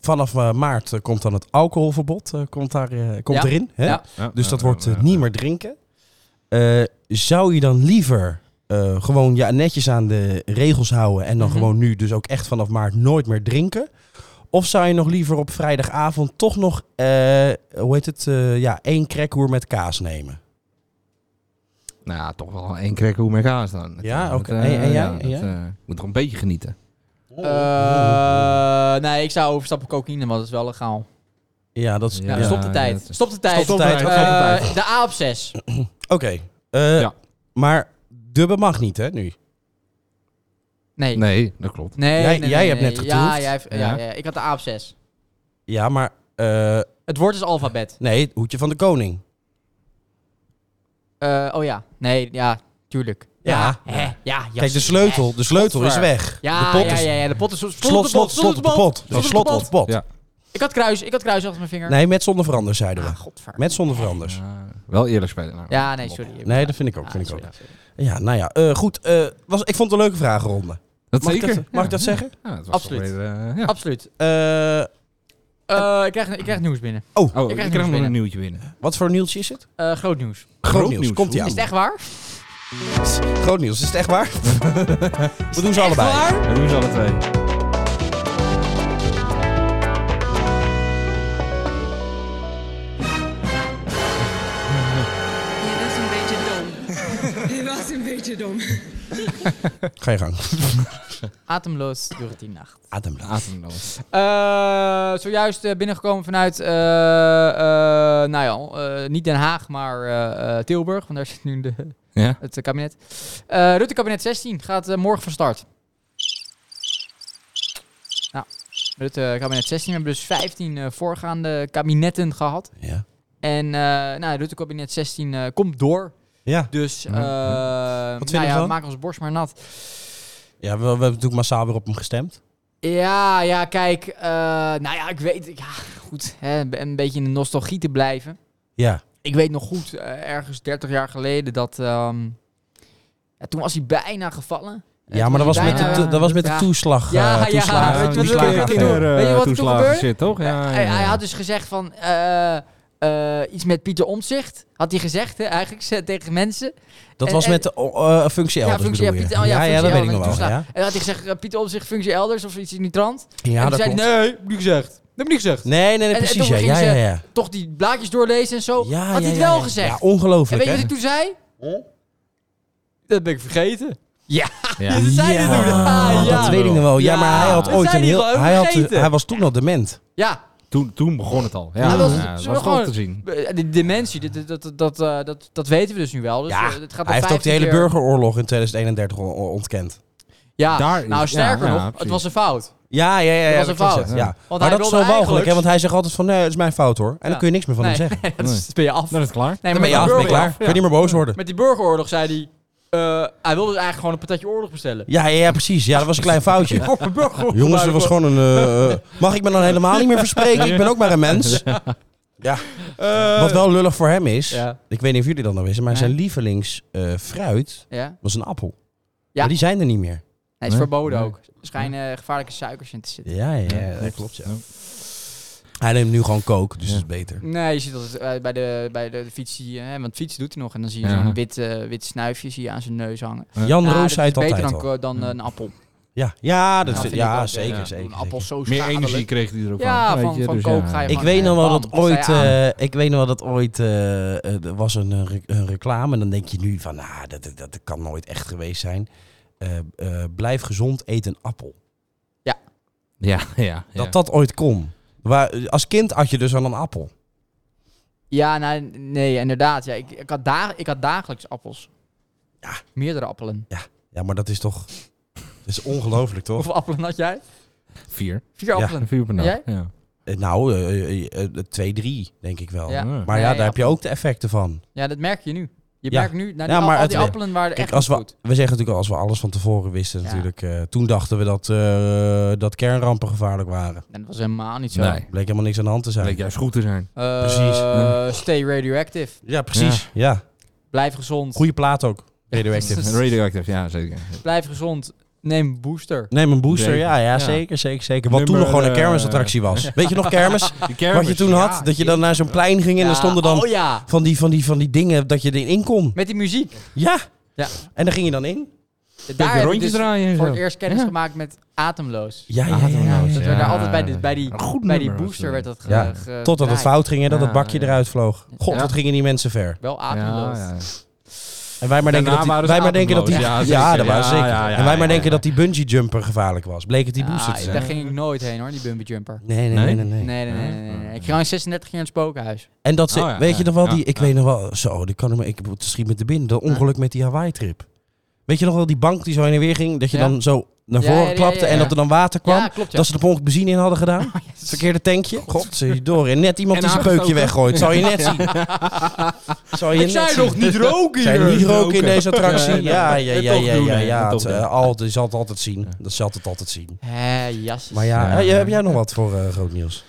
B: vanaf eh, maart eh, komt dan het alcoholverbod eh, komt daar, eh, komt
F: Ja.
B: erin. Hè?
F: Ja.
C: Ja,
B: Dus
C: ja,
B: dat
C: ja,
B: wordt eh,
C: ja,
B: niet
C: ja.
B: meer drinken. Eh, zou je dan liever eh, gewoon ja, netjes aan de regels houden en dan
F: Mhm.
B: gewoon nu dus ook echt vanaf maart nooit meer drinken? Of zou je nog liever op vrijdagavond toch nog, eh, hoe heet het, eh, ja, één crackhoer met kaas nemen?
C: Nou, ja, toch wel één crack hoe met kaas dan.
B: Ja,
C: Dat,
B: oké.
C: eh,
B: En- en jij?
C: ja,
B: En
C: dat,
B: jij?
C: eh, moet toch een beetje genieten.
F: Eh, nee, ik zou overstappen op cocaïne, want dat is wel legaal.
B: Ja, dat is...
F: Nou,
C: Ja,
F: stop de
C: ja,
F: tijd.
C: dat is-
F: Stop de tijd.
B: Stop de tijd,
F: Eh,
B: stop de tijd.
F: de A op 6.
B: Oké, eh,
C: Ja.
B: maar dubbel mag niet hè, nu?
F: Nee. Nee,
C: Nee, dat klopt.
F: nee,
B: Jij-
F: nee,
B: jij
F: nee,
B: hebt
F: nee.
B: net
F: Ja,
B: getoefd.
F: jij heeft- ja.
C: Ja.
F: ja, ik had de A op 6.
B: Ja, maar eh,
F: Het woord is alfabet.
B: nee, het hoedje van de koning.
F: Eh, oh ja. Nee, ja, tuurlijk.
B: Ja.
F: hè, ja, jas.
B: Kijk, de sleutel, de sleutel is weg.
F: Ja,
B: de pot is...
F: ja, ja, ja, de pot is slot,
B: Slot, slot, slot op de pot. Nee, Slot op de pot.
C: Ja.
F: Ik had kruis, ik had kruis achter mijn vinger.
B: Nee, met zonder veranders zeiden we.
F: Ah, godver.
B: Met zonder veranders.
C: Ja, Dus. wel eerlijk spelen. nou.
F: Ja, nee, sorry.
B: Nee, dat vind ik ook.
F: Ah,
B: Vind ik ook.
F: sorry, sorry.
B: Ja, nou ja, eh, goed. eh, was, ik vond het een leuke vragenronde.
C: Dat
B: Mag,
C: zeker.
B: Ik, dat, mag ik dat zeggen?
C: Ja, het was toch
F: Absoluut.
C: weer, eh, ja.
F: Absoluut.
B: Eh,
F: Eh, ik, krijg, ik krijg nieuws binnen.
C: Oh,
F: Ik
C: ik
F: krijg
C: krijg
F: nieuws
C: nog
F: binnen.
C: een nieuwtje binnen.
B: wat voor nieuwtje is het?
F: Eh, groot nieuws.
B: Groot nieuws.
C: nieuws.
B: Komt ie
C: Oeh.
B: aan.
F: Is het echt waar?
B: Groot nieuws. Is het echt waar? We doen ze
F: Echt
B: allebei.
F: waar?
C: We doen ze alle twee.
A: Je was een beetje dom. Je was een beetje dom.
B: Ga je gang.
F: Atemloos door die nacht.
B: Ademloos.
C: Ademloos.
F: Eh, zojuist eh, binnengekomen vanuit, eh, eh, nou ja, eh, niet Den Haag, maar eh, eh, Tilburg. Want daar zit nu de,
C: Ja.
F: het eh, kabinet. Eh, Rutte kabinet 16 gaat eh, morgen van start. Nou, Rutte kabinet 16. We hebben dus 15 eh, voorgaande kabinetten gehad.
B: Ja.
F: En eh nou, Rutte kabinet 16 eh, komt door.
B: Ja.
F: Dus eh
C: Mhm.
F: nou
B: Wat vinden we
F: ja,
B: ervan?
F: maak ons borst maar nat.
B: ja, we, we hebben natuurlijk massaal weer op hem gestemd.
F: Ja, ja, kijk. eh, nou ja, ik weet... Ja, goed. Hè, een beetje in de nostalgie te blijven.
B: Ja.
F: Ik weet nog goed, eh, ergens 30 jaar geleden, dat... ehm, ja, toen was hij bijna gevallen. Eh,
B: Ja,
F: toen
B: maar dat was met
F: hij
B: de,
F: bijna-
B: to- dat was met de
F: Ja.
B: toeslag.
F: Ja,
B: eh,
F: ja,
B: toeslagen-
F: Ah, weet je wat
B: toeslagen-
F: ik- ik- ik-
B: affaire.
F: Weet je wat er toen gebeurde?
C: zit, eh, toch? Ja,
F: hij,
C: ja,
F: hij
C: ja.
F: had dus gezegd van... eh, eh, iets met Pieter Omtzigt. Had hij gezegd, hè, eigenlijk, ze- tegen mensen.
B: Dat
F: En-
B: was
F: en-
B: met de oh, eh, functie
F: Ja,
B: elders
F: functie- ja,
B: bedoel je?
F: Pieter- oh,
B: ja,
F: ja,
B: ja, dat
F: functie
B: weet ik nog
F: elders,
B: wel. Ja,
F: En had hij gezegd, eh, Pieter Omtzigt, functie elders of iets in die trant.
B: ja
F: en
B: dat
F: toen
B: klopt.
F: zei hij, nee, heb ik niet gezegd. heb ik niet gezegd.
B: Nee, nee, nee
F: En- en
B: precies.
F: toen
B: ja,
F: ging
B: ja,
F: ze-
B: ja, ja.
F: Toch die blaadjes doorlezen en zo.
B: Ja,
F: had
B: ja,
F: hij het
B: ja,
F: wel
B: ja.
F: gezegd.
B: Ja,
F: en
B: ongelooflijk.
F: weet je wat
B: hè?
F: ik toen zei? Dat ben ik vergeten. Ja,
C: Ja.
F: dat zei hij toen. Ah, ja.
B: dat weet ik nog wel. Ja,
F: Ja.
B: maar hij had
F: Dat
B: ooit
F: zei
B: een
F: hij
B: heel...
F: wel,
B: Hij, had,
F: vergeten.
B: hij was toen al dement.
F: Ja,
C: Toen, toen begon het al. Ja,
F: Ja, dat was-
C: ja, dat
F: ze
C: was
F: gewoon-
C: wel te zien.
F: de dementie, dit- dat, dat, dat, eh, dat, dat weten we dus nu wel. Dus
B: Ja,
F: eh, het gaat
B: Hij
F: nog
B: heeft ook de
F: 15
B: hele
F: keer-
B: burgeroorlog in 2031 on- on- ontkend.
F: Ja,
C: Daar is-
F: nou
C: ja,
F: sterker
C: ja,
F: nog, het
C: precies.
F: was een fout.
B: Ja, ja, ja. ja
F: was een
B: dat klopt,
F: fout.
B: ja.
C: Ja.
B: Ja.
F: Want
B: Maar
F: hij
B: dat is
F: wilde
B: zo walgelijk,
F: eigenlijk-
B: hè? Want hij zegt altijd van, nee, het is mijn fout, hoor. En
F: Ja.
B: dan kun je niks meer van
F: Nee,
B: hem zeggen.
F: dat is- ben je af.
C: Dan is het klaar.
F: Nee,
B: Dan
F: maar
B: ben je af, ben je
F: burger-
B: klaar. Kun je niet meer boos worden.
F: Met die burgeroorlog zei hij... eh, hij wilde dus eigenlijk gewoon een patatje oorlog bestellen.
B: Ja, ja, ja, precies. Ja, dat was een klein foutje.
F: Voor een burgeroorlog.
B: Jongens, dat was gewoon een... eh, eh, mag ik me dan helemaal niet meer verspreken? Ik ben ook maar een mens. Ja. Wat wel lullig voor hem is...
F: Eh, Ja.
B: Ik weet niet of jullie dat nou wisten, maar
F: Nee.
B: zijn lievelingsfruit eh,
F: Ja. Nee,
B: was een appel.
F: Ja.
B: Maar die zijn er niet meer.
F: het is
C: Nee?
F: verboden
C: Nee.
F: ook. Er schijnen eh, gevaarlijke suikers in te zitten.
B: Ja, ja, dat klopt. Ja. Hij neemt nu gewoon kook, dus
C: Ja.
B: dat is beter.
F: Nee, je ziet dat het, eh, bij de, bij de, de fiets, zie je, hè, want fietsen doet hij nog. En dan zie je
C: Ja.
F: zo'n wit, eh, wit snuifje zie je aan zijn neus hangen.
C: Ja.
B: Jan
F: Ja,
B: Roos
F: dat
B: zei
F: is
B: het
F: beter
B: altijd
F: dan,
B: al.
F: ko- dan eh, een appel.
B: Ja, ja, dat vind-
F: Ja, vind ik
B: ja,
F: ook,
B: zeker,
C: ja.
B: zeker.
F: Een appel
B: zeker.
F: zo
C: Meer
F: schadelijk.
C: energie kreeg hij ervan.
F: Ja,
C: weet
F: van-
C: je,
F: van
C: dus
F: kook
C: ja.
F: ga je
B: Ik
F: man,
B: weet
F: eh,
B: nog wel
F: bam,
B: dat
F: sta je
B: ooit,
F: aan.
B: eh, ik weet nog wel dat ooit eh, eh, er was een, eh, re- een reclame en dan denk je nu van, nou, dat, dat, dat kan nooit echt geweest zijn. Eh, eh, blijf gezond, eet een appel.
C: Ja, ja.
B: Dat
C: ja.
B: dat ooit kon. Waar, als kind had je dus aan een appel.
F: Ja, nou, nee, inderdaad. Ja, ik, ik, had da- ik had dagelijks appels.
B: Ja.
F: Meerdere appelen.
B: Ja, maar dat is toch, dat is ongelooflijk toch?
F: Hoeveel appelen had jij?
C: Vier.
F: Vier
B: Ja.
F: appelen.
C: Vier per nacht.
F: Jij?
C: Ja.
B: Eh, Nou, eh, eh, eh, twee, drie, denk ik wel.
F: Ja.
C: Ja.
B: Maar ja,
F: Nee,
B: daar heb je ook de effecten van.
F: Ja, dat merk je nu. Je
B: Ja.
F: merkt nu, nou,
B: Ja,
F: die,
B: maar
F: al die
B: het-
F: appelen waren
B: Kijk,
F: echt
B: als we,
F: niet
B: we
F: goed.
B: zeggen natuurlijk al, als we alles van tevoren wisten
F: Ja.
B: natuurlijk. eh, toen dachten we dat, eh, dat kernrampen gevaarlijk waren.
F: En dat was helemaal niet zo.
C: Nee.
B: Bleek helemaal niks aan de hand te zijn.
C: Bleek juist goed te zijn.
F: Eh,
B: Precies.
F: eh, Stay radioactive.
B: Ja, precies. Ja.
F: Blijf gezond.
B: Goede plaat ook. Radioactive.
C: Radioactive, ja, zeker.
F: Blijf gezond. Neem een booster.
B: Neem een booster.
C: Zeker.
B: Ja, ja,
F: Ja.
B: zeker, zeker, zeker. Wat
C: Nummer,
B: toen nog gewoon een
C: eh,
B: kermisattractie was. Weet je nog kermis?
C: Die kermis.
B: Wat je toen had? Dat je dan naar zo'n plein ging en
F: Ja,
B: dan stonden dan
F: Oh ja,
B: van, die, van, die, van die dingen dat je erin in kon.
F: met die muziek.
B: Ja.
F: Ja.
B: En daar ging je dan in?
F: Daar heb ik
C: rondjes
F: dus
C: draaien en
F: voor
C: zo.
F: het eerst kennis
C: Ja.
F: gemaakt met Atemloos.
B: Ja, ja,
C: Ah,
B: ja.
C: toen
F: Ja,
C: Atemloos,
F: dat
B: ja.
F: werd daar
C: ja.
F: altijd bij, de, bij, die,
C: Een goed
F: bij die
C: nummer was dat.
F: booster werd dat ge,
B: Ja.
F: ge-
B: Totdat het
F: gedraaid.
B: fout ging en dat het
C: Ja,
B: bakje
C: ja.
B: eruit vloog. God,
F: Ja.
B: wat gingen die mensen ver.
F: Wel
C: Ja,
F: atemloos.
C: ja.
B: En wij maar denken
C: Daarna
B: dat die,
C: waren ze
B: wij maar denken dat die
C: ademloos. Ja,
B: ja,
C: zeker.
B: dat waren ze
C: Ja,
B: zeker.
C: ja, ja,
B: en wij maar
C: ja,
B: denken
C: ja.
B: dat die bungee jumper gevaarlijk was. Bleek het die
F: Ah,
B: booster te
F: daar
B: zijn.
F: ging ik nooit heen hoor, die bumper jumper.
B: Nee, nee, nee,
C: Nee?
B: nee, nee.
F: Nee, nee, nee. nee, nee. Ik ging al in 36 jaar in het spookhuis.
B: En dat ze,
C: Oh ja,
B: weet
C: ja,
B: je nog wel,
C: ja,
B: die, ik
C: ja.
B: weet nog wel, zo, die kan ik, me- ik het schiet me te binnen. Dat ongeluk met die Hawaii-trip. Weet je nog wel, die bank die zo heen en weer ging, dat je
F: Ja.
B: dan zo naar
F: Ja,
B: voren
F: ja, ja,
B: klapte
F: ja,
B: en
F: ja.
B: dat er dan water kwam.
F: Ja, klopt Oh, ja.
B: Dat ze er per ongeluk benzine in hadden gedaan. Het verkeerde tankje. Godverdorie. En net iemand
C: En
B: die zijn
C: aangestoken.
B: peukje weggooit. Zou je net zien. Zou je
F: Ik
B: net
F: zei
B: zien.
F: nog niet roken
B: Zou
F: hier.
B: je niet roken in
C: Roken.
B: deze attractie.
C: Nee, nee.
B: Ja, ja,
C: En
B: ja,
C: toch
B: ja,
C: doen,
B: ja.
C: hè.
B: ja.
C: En
B: Het,
C: toch doen.
B: eh, al- Je zal het altijd zien. Dat zal het altijd zien.
F: Hé, jasjes.
B: Maar ja,
C: Ja.
B: eh, heb jij nog wat voor eh, groot nieuws?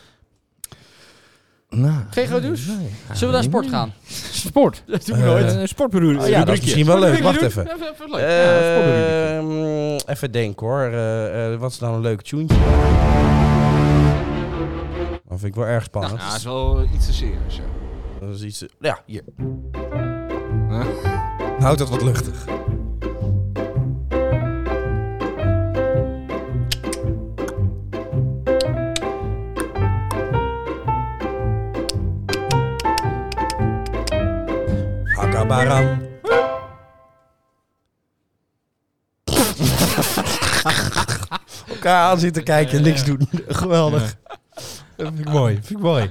C: Nou,
F: Geen groot nieuws?
C: nee.
F: Zullen we naar sport gaan?
C: Sport.
F: Dat doe
B: ik nooit. Eh,
C: Een sportbedoel.
B: Oh ja, dat is misschien wel leuk. Wacht even.
C: Oh, Eh, Ja,
B: Ehm, even denken hoor. Eh, eh, wat is nou een leuk tuentje? Dat Oh, vind ik wel erg spannend.
C: is wel iets te serieus. ja.
B: Dat is iets... eh, Ja, hier. Houd dat wat luchtig. Hakabaram. Elkaar aan zitten kijken en niks doen. Geweldig. Dat vind ik mooi. Vind ik mooi.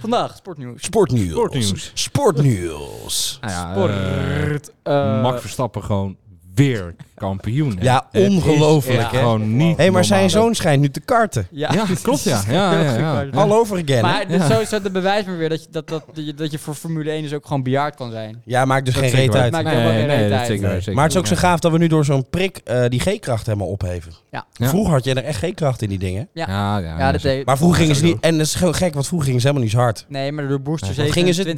F: Vandaag, sportnieuws.
B: Sportnieuws.
C: Sportnieuws.
B: Sportnieuws.
C: Nou ja, eh,
F: Sport. eh,
C: Max Verstappen gewoon weer kampioen. hè.
B: Ja,
C: Het is
B: ongelooflijk,
C: echt
B: hè?
C: Gewoon niet
B: Hé, maar zijn
C: normaal.
B: zoon schijnt nu te karten.
F: Ja,
C: Ja, klopt, ja. Ja, ja, ja.
F: Heel goed.
B: All over again. hè?
F: Maar dit, zo is het een bewijs maar weer dat je, dat, dat, dat, je, dat je voor Formule 1 dus ook gewoon bejaard kan zijn.
B: Ja, maakt dus
C: Dat
B: geen
C: zeker
B: reet
C: waar.
B: uit.
F: Maakt
C: Nee,
F: helemaal geen
C: nee,
F: reet
C: dat
F: uit.
C: zeker waar,
B: Nee.
C: zeker
B: Maar het is ook zo
C: waar.
B: gaaf dat we nu door zo'n prik eh, die G-kracht helemaal opheven.
F: Ja.
C: Ja.
B: Vroeger had je er echt G-kracht in die dingen.
F: Ja.
C: Ja, ja. dus-
F: Ja, dat
C: zeker.
F: heeft-
B: Maar vroeger gingen ze niet... En dat is gewoon gek, want vroeger gingen ze helemaal niet zo hard.
F: Nee, maar door boosters
B: Wat
F: heeft
B: gingen ze?
F: 20.000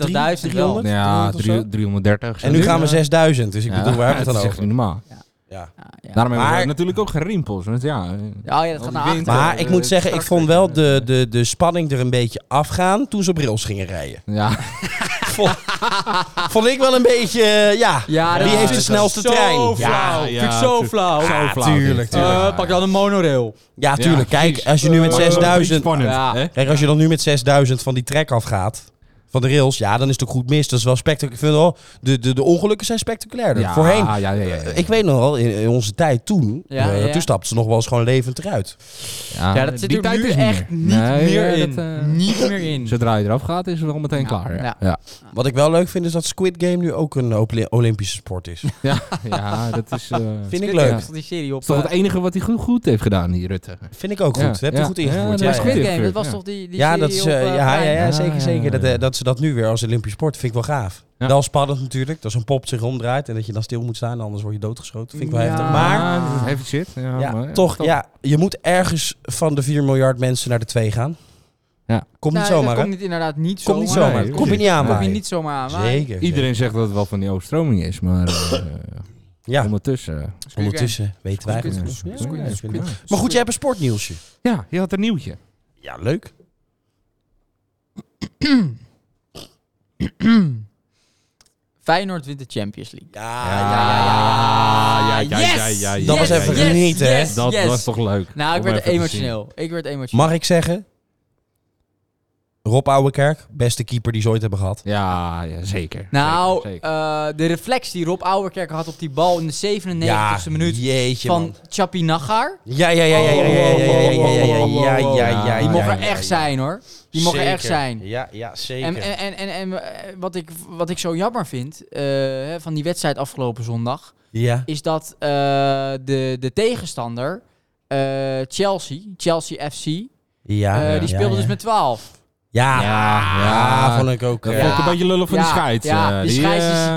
F: wel.
B: 300?
C: Ja,
B: of zo?
C: drie- 330.
B: En nu gaan we
C: zeggen
B: 6000, dus ik bedoel, waar hebben we het dan
C: Dat is echt
B: over?
C: niet normaal.
B: Ja.
F: Ja, ja.
C: Daarom hebben
B: Maar-
C: we natuurlijk ook geen riempels. Want ja, eh,
F: Ja, ja,
C: Al die
F: dat gaat naar achter.
C: wind.
B: Maar
C: eh,
B: ik moet zeggen, ik
C: straks
B: vond
C: weet je,
B: wel de,
C: eh,
B: de, de spanning er een beetje afgaan toen ze op rails gingen rijden.
C: ja.
B: vond,
F: Ah.
B: vond ik wel een beetje, eh, ja,
F: Ja, dat
B: wie heeft de
F: is
B: snelste
F: zo
B: trein?
F: Flauw.
B: Ja,
F: Ja, Vind ik zo flauw.
B: Ja, tuurlijk,
F: Eh,
B: tuurlijk.
F: pak dan een monorail.
B: ja, tuurlijk.
H: Ja,
B: Kijk,
H: precies.
B: als je nu met
H: Maar dat is wel een beetje
B: 6000...
H: Spannend.
F: Ja.
H: hè?
B: Kijk, als je dan nu met 6000 van die trek afgaat, van de rails, ja, dan is het ook goed mis. Dat is wel spectaculair. Ik vind wel, de, de, de ongelukken zijn spectaculairder.
C: Ja,
B: Voorheen,
C: Ja, ja, ja, ja.
B: ik weet nog wel, in, in onze tijd toen,
F: Ja,
B: eh,
F: ja.
B: toen stapten ze nog wel eens gewoon levend eruit.
F: Ja, dat zit
C: die
F: er
C: tijd
F: nu
C: is
F: echt niet
C: Nee,
F: meer
C: ja,
F: in.
C: dat, eh,
F: Niet meer in.
C: Zodra je eraf gaat, is het wel meteen
F: Ja,
C: klaar.
F: ja.
C: Ja, ja.
B: Wat ik wel leuk vind, is dat Squid Game nu ook een Oli- Olympische sport is.
C: ja. dat is... eh,
B: Vind ik leuk.
C: Ja.
F: Dat is die serie op.
C: is toch het
F: eh,
C: enige wat hij goed, goed heeft gedaan, die Rutte.
B: Vind ik ook goed.
C: Ja,
B: Heb je
C: ja.
B: goed ingevoerd. Ja,
C: Ja, dat
B: ja,
C: is
B: ja.
F: Squid Game, dat
C: Squid,
F: was
C: ja.
F: toch die, die
B: Ja,
F: serie
B: dat is,
F: op,
B: eh,
F: eh,
B: ja, ja,
F: Prime?
B: ja, zeker,
C: Ah,
B: zeker. Dat,
C: ja.
B: eh, dat ze dat nu weer als Olympisch sport vind ik wel gaaf.
C: Ja.
B: Wel spannend natuurlijk, dat zo'n pop zich omdraait en dat je dan stil moet staan, anders word je doodgeschoten. Vind ik wel
F: Ja.
B: heftig. Maar
C: Ja, dat is heavy shit. Ja,
B: ja,
C: maar-
B: toch, ja, je moet ergens van de 4 miljard mensen naar de 2 gaan.
C: Ja.
B: Komt niet
F: Nee,
B: zomaar,
F: Nou, dat
B: hè?
F: komt niet, inderdaad niet zomaar.
B: Komt niet
C: zomaar.
B: zomaar.
C: Nee,
B: Kom je niet
C: precies.
B: aan,
F: Kom je
B: maar.
F: niet zomaar aan. maar-
B: Zeker.
C: Iedereen zegt dat het wel van die overstroming is, maar eh,
B: Ja,
C: ondertussen... eh,
F: Squid
B: ondertussen weten wij
F: Squid
B: eigenlijk.
F: Game.
B: niet.
F: Squid Game.
B: Ja,
F: Squid
B: Squid
F: Game.
B: Game. Maar goed, jij hebt een sportnieuwsje.
C: Ja, je had een nieuwtje.
B: Ja, leuk.
F: Feyenoord wint de Champions League.
B: Ja,
F: ja,
H: ja, ja, ja, ja, ja.
B: Dat was even genieten, hè?
H: Dat
F: yes.
H: was toch leuk.
F: Nou, ik
H: Om
F: werd
H: even te zien.
F: emotioneel. Ik werd emotioneel.
B: Mag ik zeggen? Rob Ouwekerk, beste keeper die ze ooit hebben gehad.
C: Ja, ja zeker.
F: Nou,
C: Zeker, zeker.
F: eh, de reflex die Rob Ouwerkerk had op die bal in de 97e minuut
B: jeetje,
F: van
B: man.
F: Chapi Nagar.
B: Ja, ja, ja, ja, ja, ja, ja, ja, ja, ja, ja, ja, ja, ja.
F: Die mocht er
B: ja,
F: echt
B: ja.
F: zijn hoor. Die mocht er
B: Zeker.
F: echt zijn.
B: Ja, ja, zeker.
F: En, en, en, en, en, eh, wat, ik, wat ik zo jammer vind eh, hè, van die wedstrijd afgelopen zondag.
B: ja.
F: is dat eh, de, de tegenstander, eh, Chelsea, Chelsea FC,
B: Ja,
F: eh,
B: ja,
F: die speelde
B: ja,
F: dus
B: ja.
F: met 12.
B: Ja,
C: Ja,
B: ja,
C: ja.
B: vond ik ook.
C: Dat
B: eh,
C: vond ik een beetje lullig van
F: eh, ah. Ja,
C: die scheids.
F: ja,
C: eh,
F: die scheids is-
C: eh,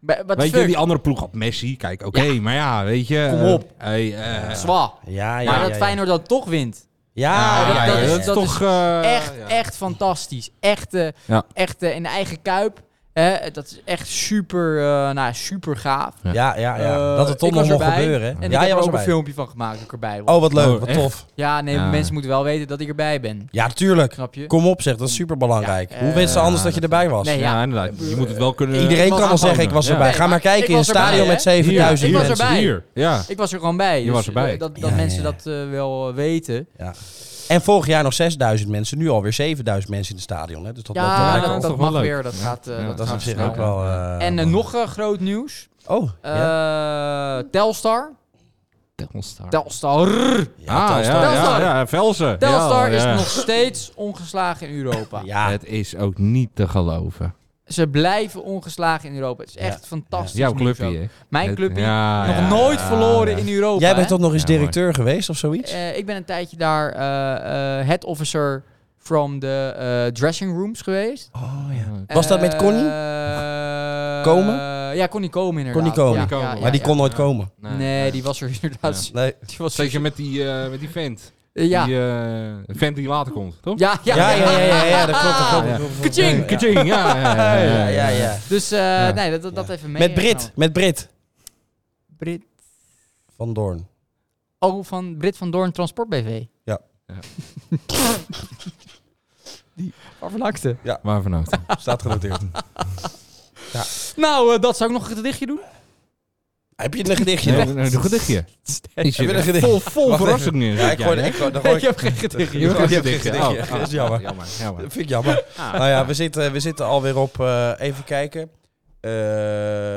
F: Ba- Wat
C: Weet
F: fuck?
C: je, die andere ploeg had Messi. Kijk, oké, maar ja, weet je.
F: Kom
C: eh,
F: op.
C: hey, eh,
F: Zwa.
B: Ja, ja,
F: maar
B: ja,
F: dat
B: ja.
F: Feyenoord dan toch wint.
B: Ja,
F: Ja,
B: ja, ja,
F: dat
B: ja,
F: is-
B: ja.
F: dat is
C: eh,
F: echt,
C: ja.
F: echt fantastisch. Echt, eh,
C: Ja.
F: echt eh, in de eigen kuip. Hè, dat is echt super, eh, nou, super gaaf.
B: Ja, ja, ja.
F: Eh,
B: Dat het toch
F: ik
B: nog
F: was
B: mocht
F: erbij.
B: gebeuren. hè?
F: En
B: Ja,
F: ik
B: jij
F: heb er
B: was
F: ook een
B: erbij.
F: filmpje van gemaakt dat ik erbij was.
B: Oh, wat leuk,
C: Oh,
B: wat
C: echt?
B: tof.
F: Ja, nee,
C: Ja.
F: mensen moeten wel weten dat ik erbij ben.
B: Ja, tuurlijk.
F: Snap je?
B: Kom op zeg, dat is superbelangrijk.
F: Ja,
B: Hoe
F: eh,
B: weten ze anders dat je erbij was?
F: Nee,
C: Ja,
F: ja.
C: inderdaad. Je moet het wel kunnen...
B: Iedereen kan wel
F: was
B: zeggen, ik was
C: Ja.
B: erbij.
F: Nee,
B: Ga maar
F: maar ik
B: kijken in een
F: was erbij,
B: stadion
F: hè?
B: met
F: Hier,
B: 7000
F: ik was
B: mensen.
F: erbij.
C: Hier, ja.
F: Ik was er gewoon bij.
C: Je
F: dus,
C: was erbij.
F: eh, Dat, dat
B: Ja, ja,
F: mensen
B: ja.
F: dat eh, wel eh, weten.
B: En vorig jaar nog 6000 mensen, nu alweer 7000 mensen in het stadion. Hè? Dus dat loopt wel
F: Ja,
B: lekker
F: dat,
B: op.
F: dat
C: toch wel
F: mag
C: leuk.
F: weer. Dat gaat, eh,
C: Ja,
F: dat
B: dat is
F: gaat
B: op zich
F: snel.
B: ook wel... eh,
F: En eh,
B: wel-
F: nog eh, groot nieuws.
B: Oh, ja.
F: Eh, Telstar. Telstar.
B: Ja,
C: ah,
B: Telstar.
C: ja, ja,
F: Telstar.
C: ja, Velsen.
F: Telstar
C: Ja,
F: is
C: ja.
F: nog steeds ongeslagen in Europa.
B: Ja,
C: Het is ook niet te geloven.
F: Ze blijven ongeslagen in Europa. Het is echt fantastisch.
C: Jouw
F: nieuws
C: clubje,
F: ook.
C: hè?
F: Mijn
C: Het-
F: clubje.
C: ja,
F: nog
C: ja,
F: nooit
C: ja,
F: verloren
C: ja.
F: in Europa.
B: Jij bent
F: hè?
B: toch nog eens
C: Ja, mooi.
B: directeur geweest of zoiets?
F: Eh, ik ben een tijdje daar eh, eh, head officer from the eh, dressing rooms geweest.
B: Oh ja. Was dat met Connie?
F: Eh,
B: Komen?
F: Ja, Connie Komen inderdaad.
B: Connie Komen.
F: Ja,
C: Connie
F: ja,
C: Komen.
F: ja,
B: Maar die
F: ja.
B: kon nooit komen.
F: Nee, die was er inderdaad.
B: Nee.
F: Die was er
C: Zeker met die, eh, met die vent.
F: Eh, Ja.
C: Die eh, vent die later komt, toch?
F: Ja, ja,
B: Ja, ja, ja, ja, ja, dat klopt, dat klopt,
C: Ja.
B: dat klopt.
F: Kaching,
B: Ja.
C: Kaching, ja. ja, ja,
B: Ja, ja, ja.
F: Dus eh,
C: Ja.
F: nee, dat, dat, dat even mee. eh, nou.
B: Met Brit, met Brit.
F: Brit.
B: Van Doorn.
F: Oh, van Brit van Doorn Transport BV.
B: Ja.
C: Ja.
F: Die verlakte.
C: Waar vanavond?
B: Staat genoteerd.
F: Nou, eh, dat zou ik nog een gedichtje doen.
B: Heb je een gedichtje
C: Nee,
B: nog?
C: nee, doe een gedichtje. Is
B: Heb je een
C: je Oh,
B: gedichtje?
C: vol, vol
B: Wacht
C: verrassing in.
B: Ja,
C: zit
B: ik
C: jij,
B: gooi
C: hè?
B: ik gooi- dan
F: Nee,
B: gooi
F: ik heb geen gedichtje.
B: Je
C: Je
B: hebt
C: hebt
B: geen
C: geen
B: gedichtje.
C: gedichtje. ah,
B: Oh, dat is jammer.
C: Jammer, jammer. Ah,
B: Dat vind ik jammer.
F: Ah.
B: Nou ja, we zitten, we zitten alweer op, eh, even kijken. Eh,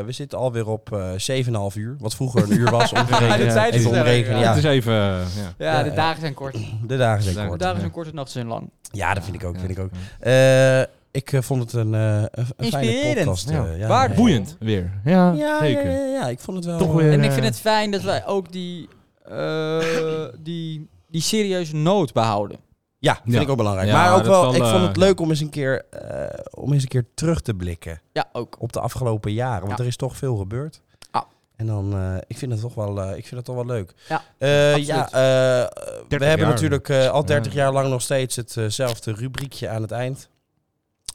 B: we zitten alweer op eh 7,5 uur. Wat vroeger een uur was, omgerekend.
F: dit zei hij
B: even
F: zelf,
B: omrekenen,
F: ja.
B: ja.
C: Het is even... eh, ja.
F: Ja, de
B: Ja,
F: dagen zijn kort. De
B: De dagen zijn
C: Dagen.
B: kort.
F: dagen zijn kort, de nachten zijn lang.
B: Ja, dat vind ik ook.
C: Ja.
B: Vind ik, ook. Eh, ik eh, vond het een, eh, een- een fijne
F: Inspirerend.
B: podcast. eh,
C: Ja.
B: ja,
F: Waar-
B: ja,
C: Boeiend weer.
B: Ja,
C: Ja,
B: ja, ja,
C: zeker.
B: ja, ja, ik vond het wel...
C: Toch weer-
B: eh,
F: En ik vind het fijn dat wij ook die, eh, die, die serieuze noot behouden.
B: ja, vind
C: Ja.
B: ik ook belangrijk.
C: Ja,
B: maar ook
C: dat
B: wel,
C: wel,
B: ik vond
C: eh,
B: het leuk om eens, een keer, eh, om eens een keer terug te blikken
F: Ja, ook.
B: op de afgelopen jaren. Want
F: Ja.
B: er is toch veel gebeurd.
F: Ah.
B: En dan, eh, ik vind het toch wel, eh, ik vind het toch wel leuk.
F: Ja,
B: Eh,
F: absoluut.
B: ja eh, we
C: 30
B: hebben
C: jaar.
B: natuurlijk eh, al 30
C: Ja.
B: jaar lang nog steeds hetzelfde rubriekje aan het eind.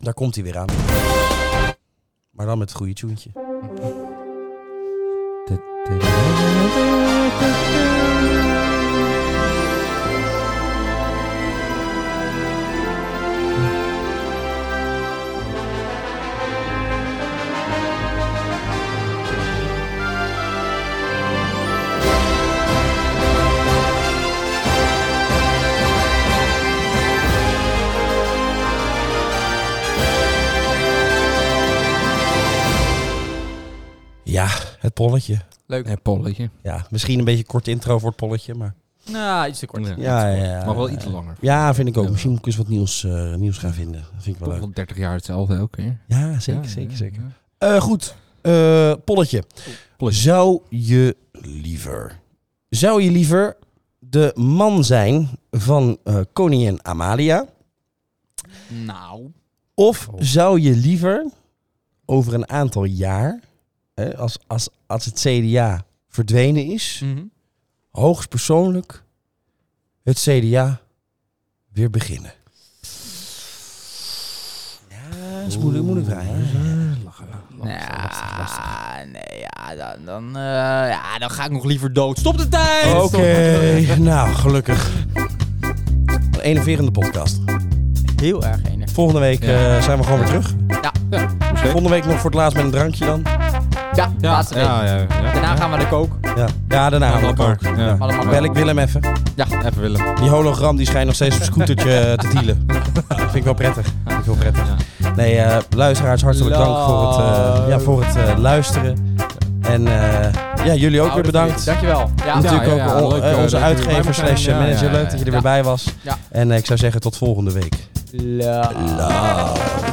B: Daar komt hij weer aan. Maar dan met het goede tjoentje. Ja, het polletje.
A: Leuk.
C: Een polletje.
B: Ja, misschien een beetje kort intro voor het polletje, maar...
A: Nou, iets te kort.
C: Ja.
B: Ja, ja, ja.
C: Maar wel iets langer.
B: Ja, vind ik ook. Misschien moet ik eens wat nieuws, eh, nieuws gaan vinden. Dat vind ik wel
C: Toch
B: leuk.
C: wel 30 jaar hetzelfde elke keer.
B: Ja,
C: Ja,
B: zeker, zeker,
C: ja,
B: zeker.
C: ja.
B: Eh, goed, Eh, polletje.
C: Polletje.
B: Zou je liever... Zou je liever de man zijn van eh, koningin Amalia...
A: Nou.
B: Of
C: Oh.
B: zou je liever over een aantal jaar, hè, als, als, als het CDA verdwenen
C: Mm.
B: is, hoogstpersoonlijk het CDA weer beginnen? Ja, dat is moeilijk, moeilijk vraag. hè?
A: Ja, nee, ja, dan, dan, eh, ja, dan ga ik nog liever dood. Stop de tijd!
B: Oké, nou gelukkig. Een enerverende podcast.
A: Heel erg enig.
B: Volgende week
C: Ja.
B: eh, zijn we gewoon weer terug. Volgende week nog voor het laatst met een drankje dan.
A: Ja, laatste week.
C: ja, ja.
A: Daarna gaan we naar de kook.
B: Ja, ja daarna halen we ook.
C: Ja.
A: Allemaal
B: Bel ik Willem even.
A: Ja,
C: Even willen.
B: Die hologram die schijnt nog steeds op scootertje eh, te dealen. Dat vind ik wel prettig. Vind ik wel prettig. Nee, eh, luisteraars, hartelijk dank voor het, eh, ja, voor het eh, luisteren. En eh, ja, jullie ook weer bedankt.
A: Dankjewel. Ja,
B: Natuurlijk
C: ja, ja,
B: ook
C: leuk,
B: eh,
C: eh,
B: onze
C: dat jullie bij
B: uitgever
C: me
B: slash eh,
C: zijn. Ja,
B: manager.
C: ja, ja,
B: Leuk dat je er
A: ja.
B: weer bij was.
A: Ja.
B: En eh, ik zou zeggen tot volgende week.
A: La-
B: Love.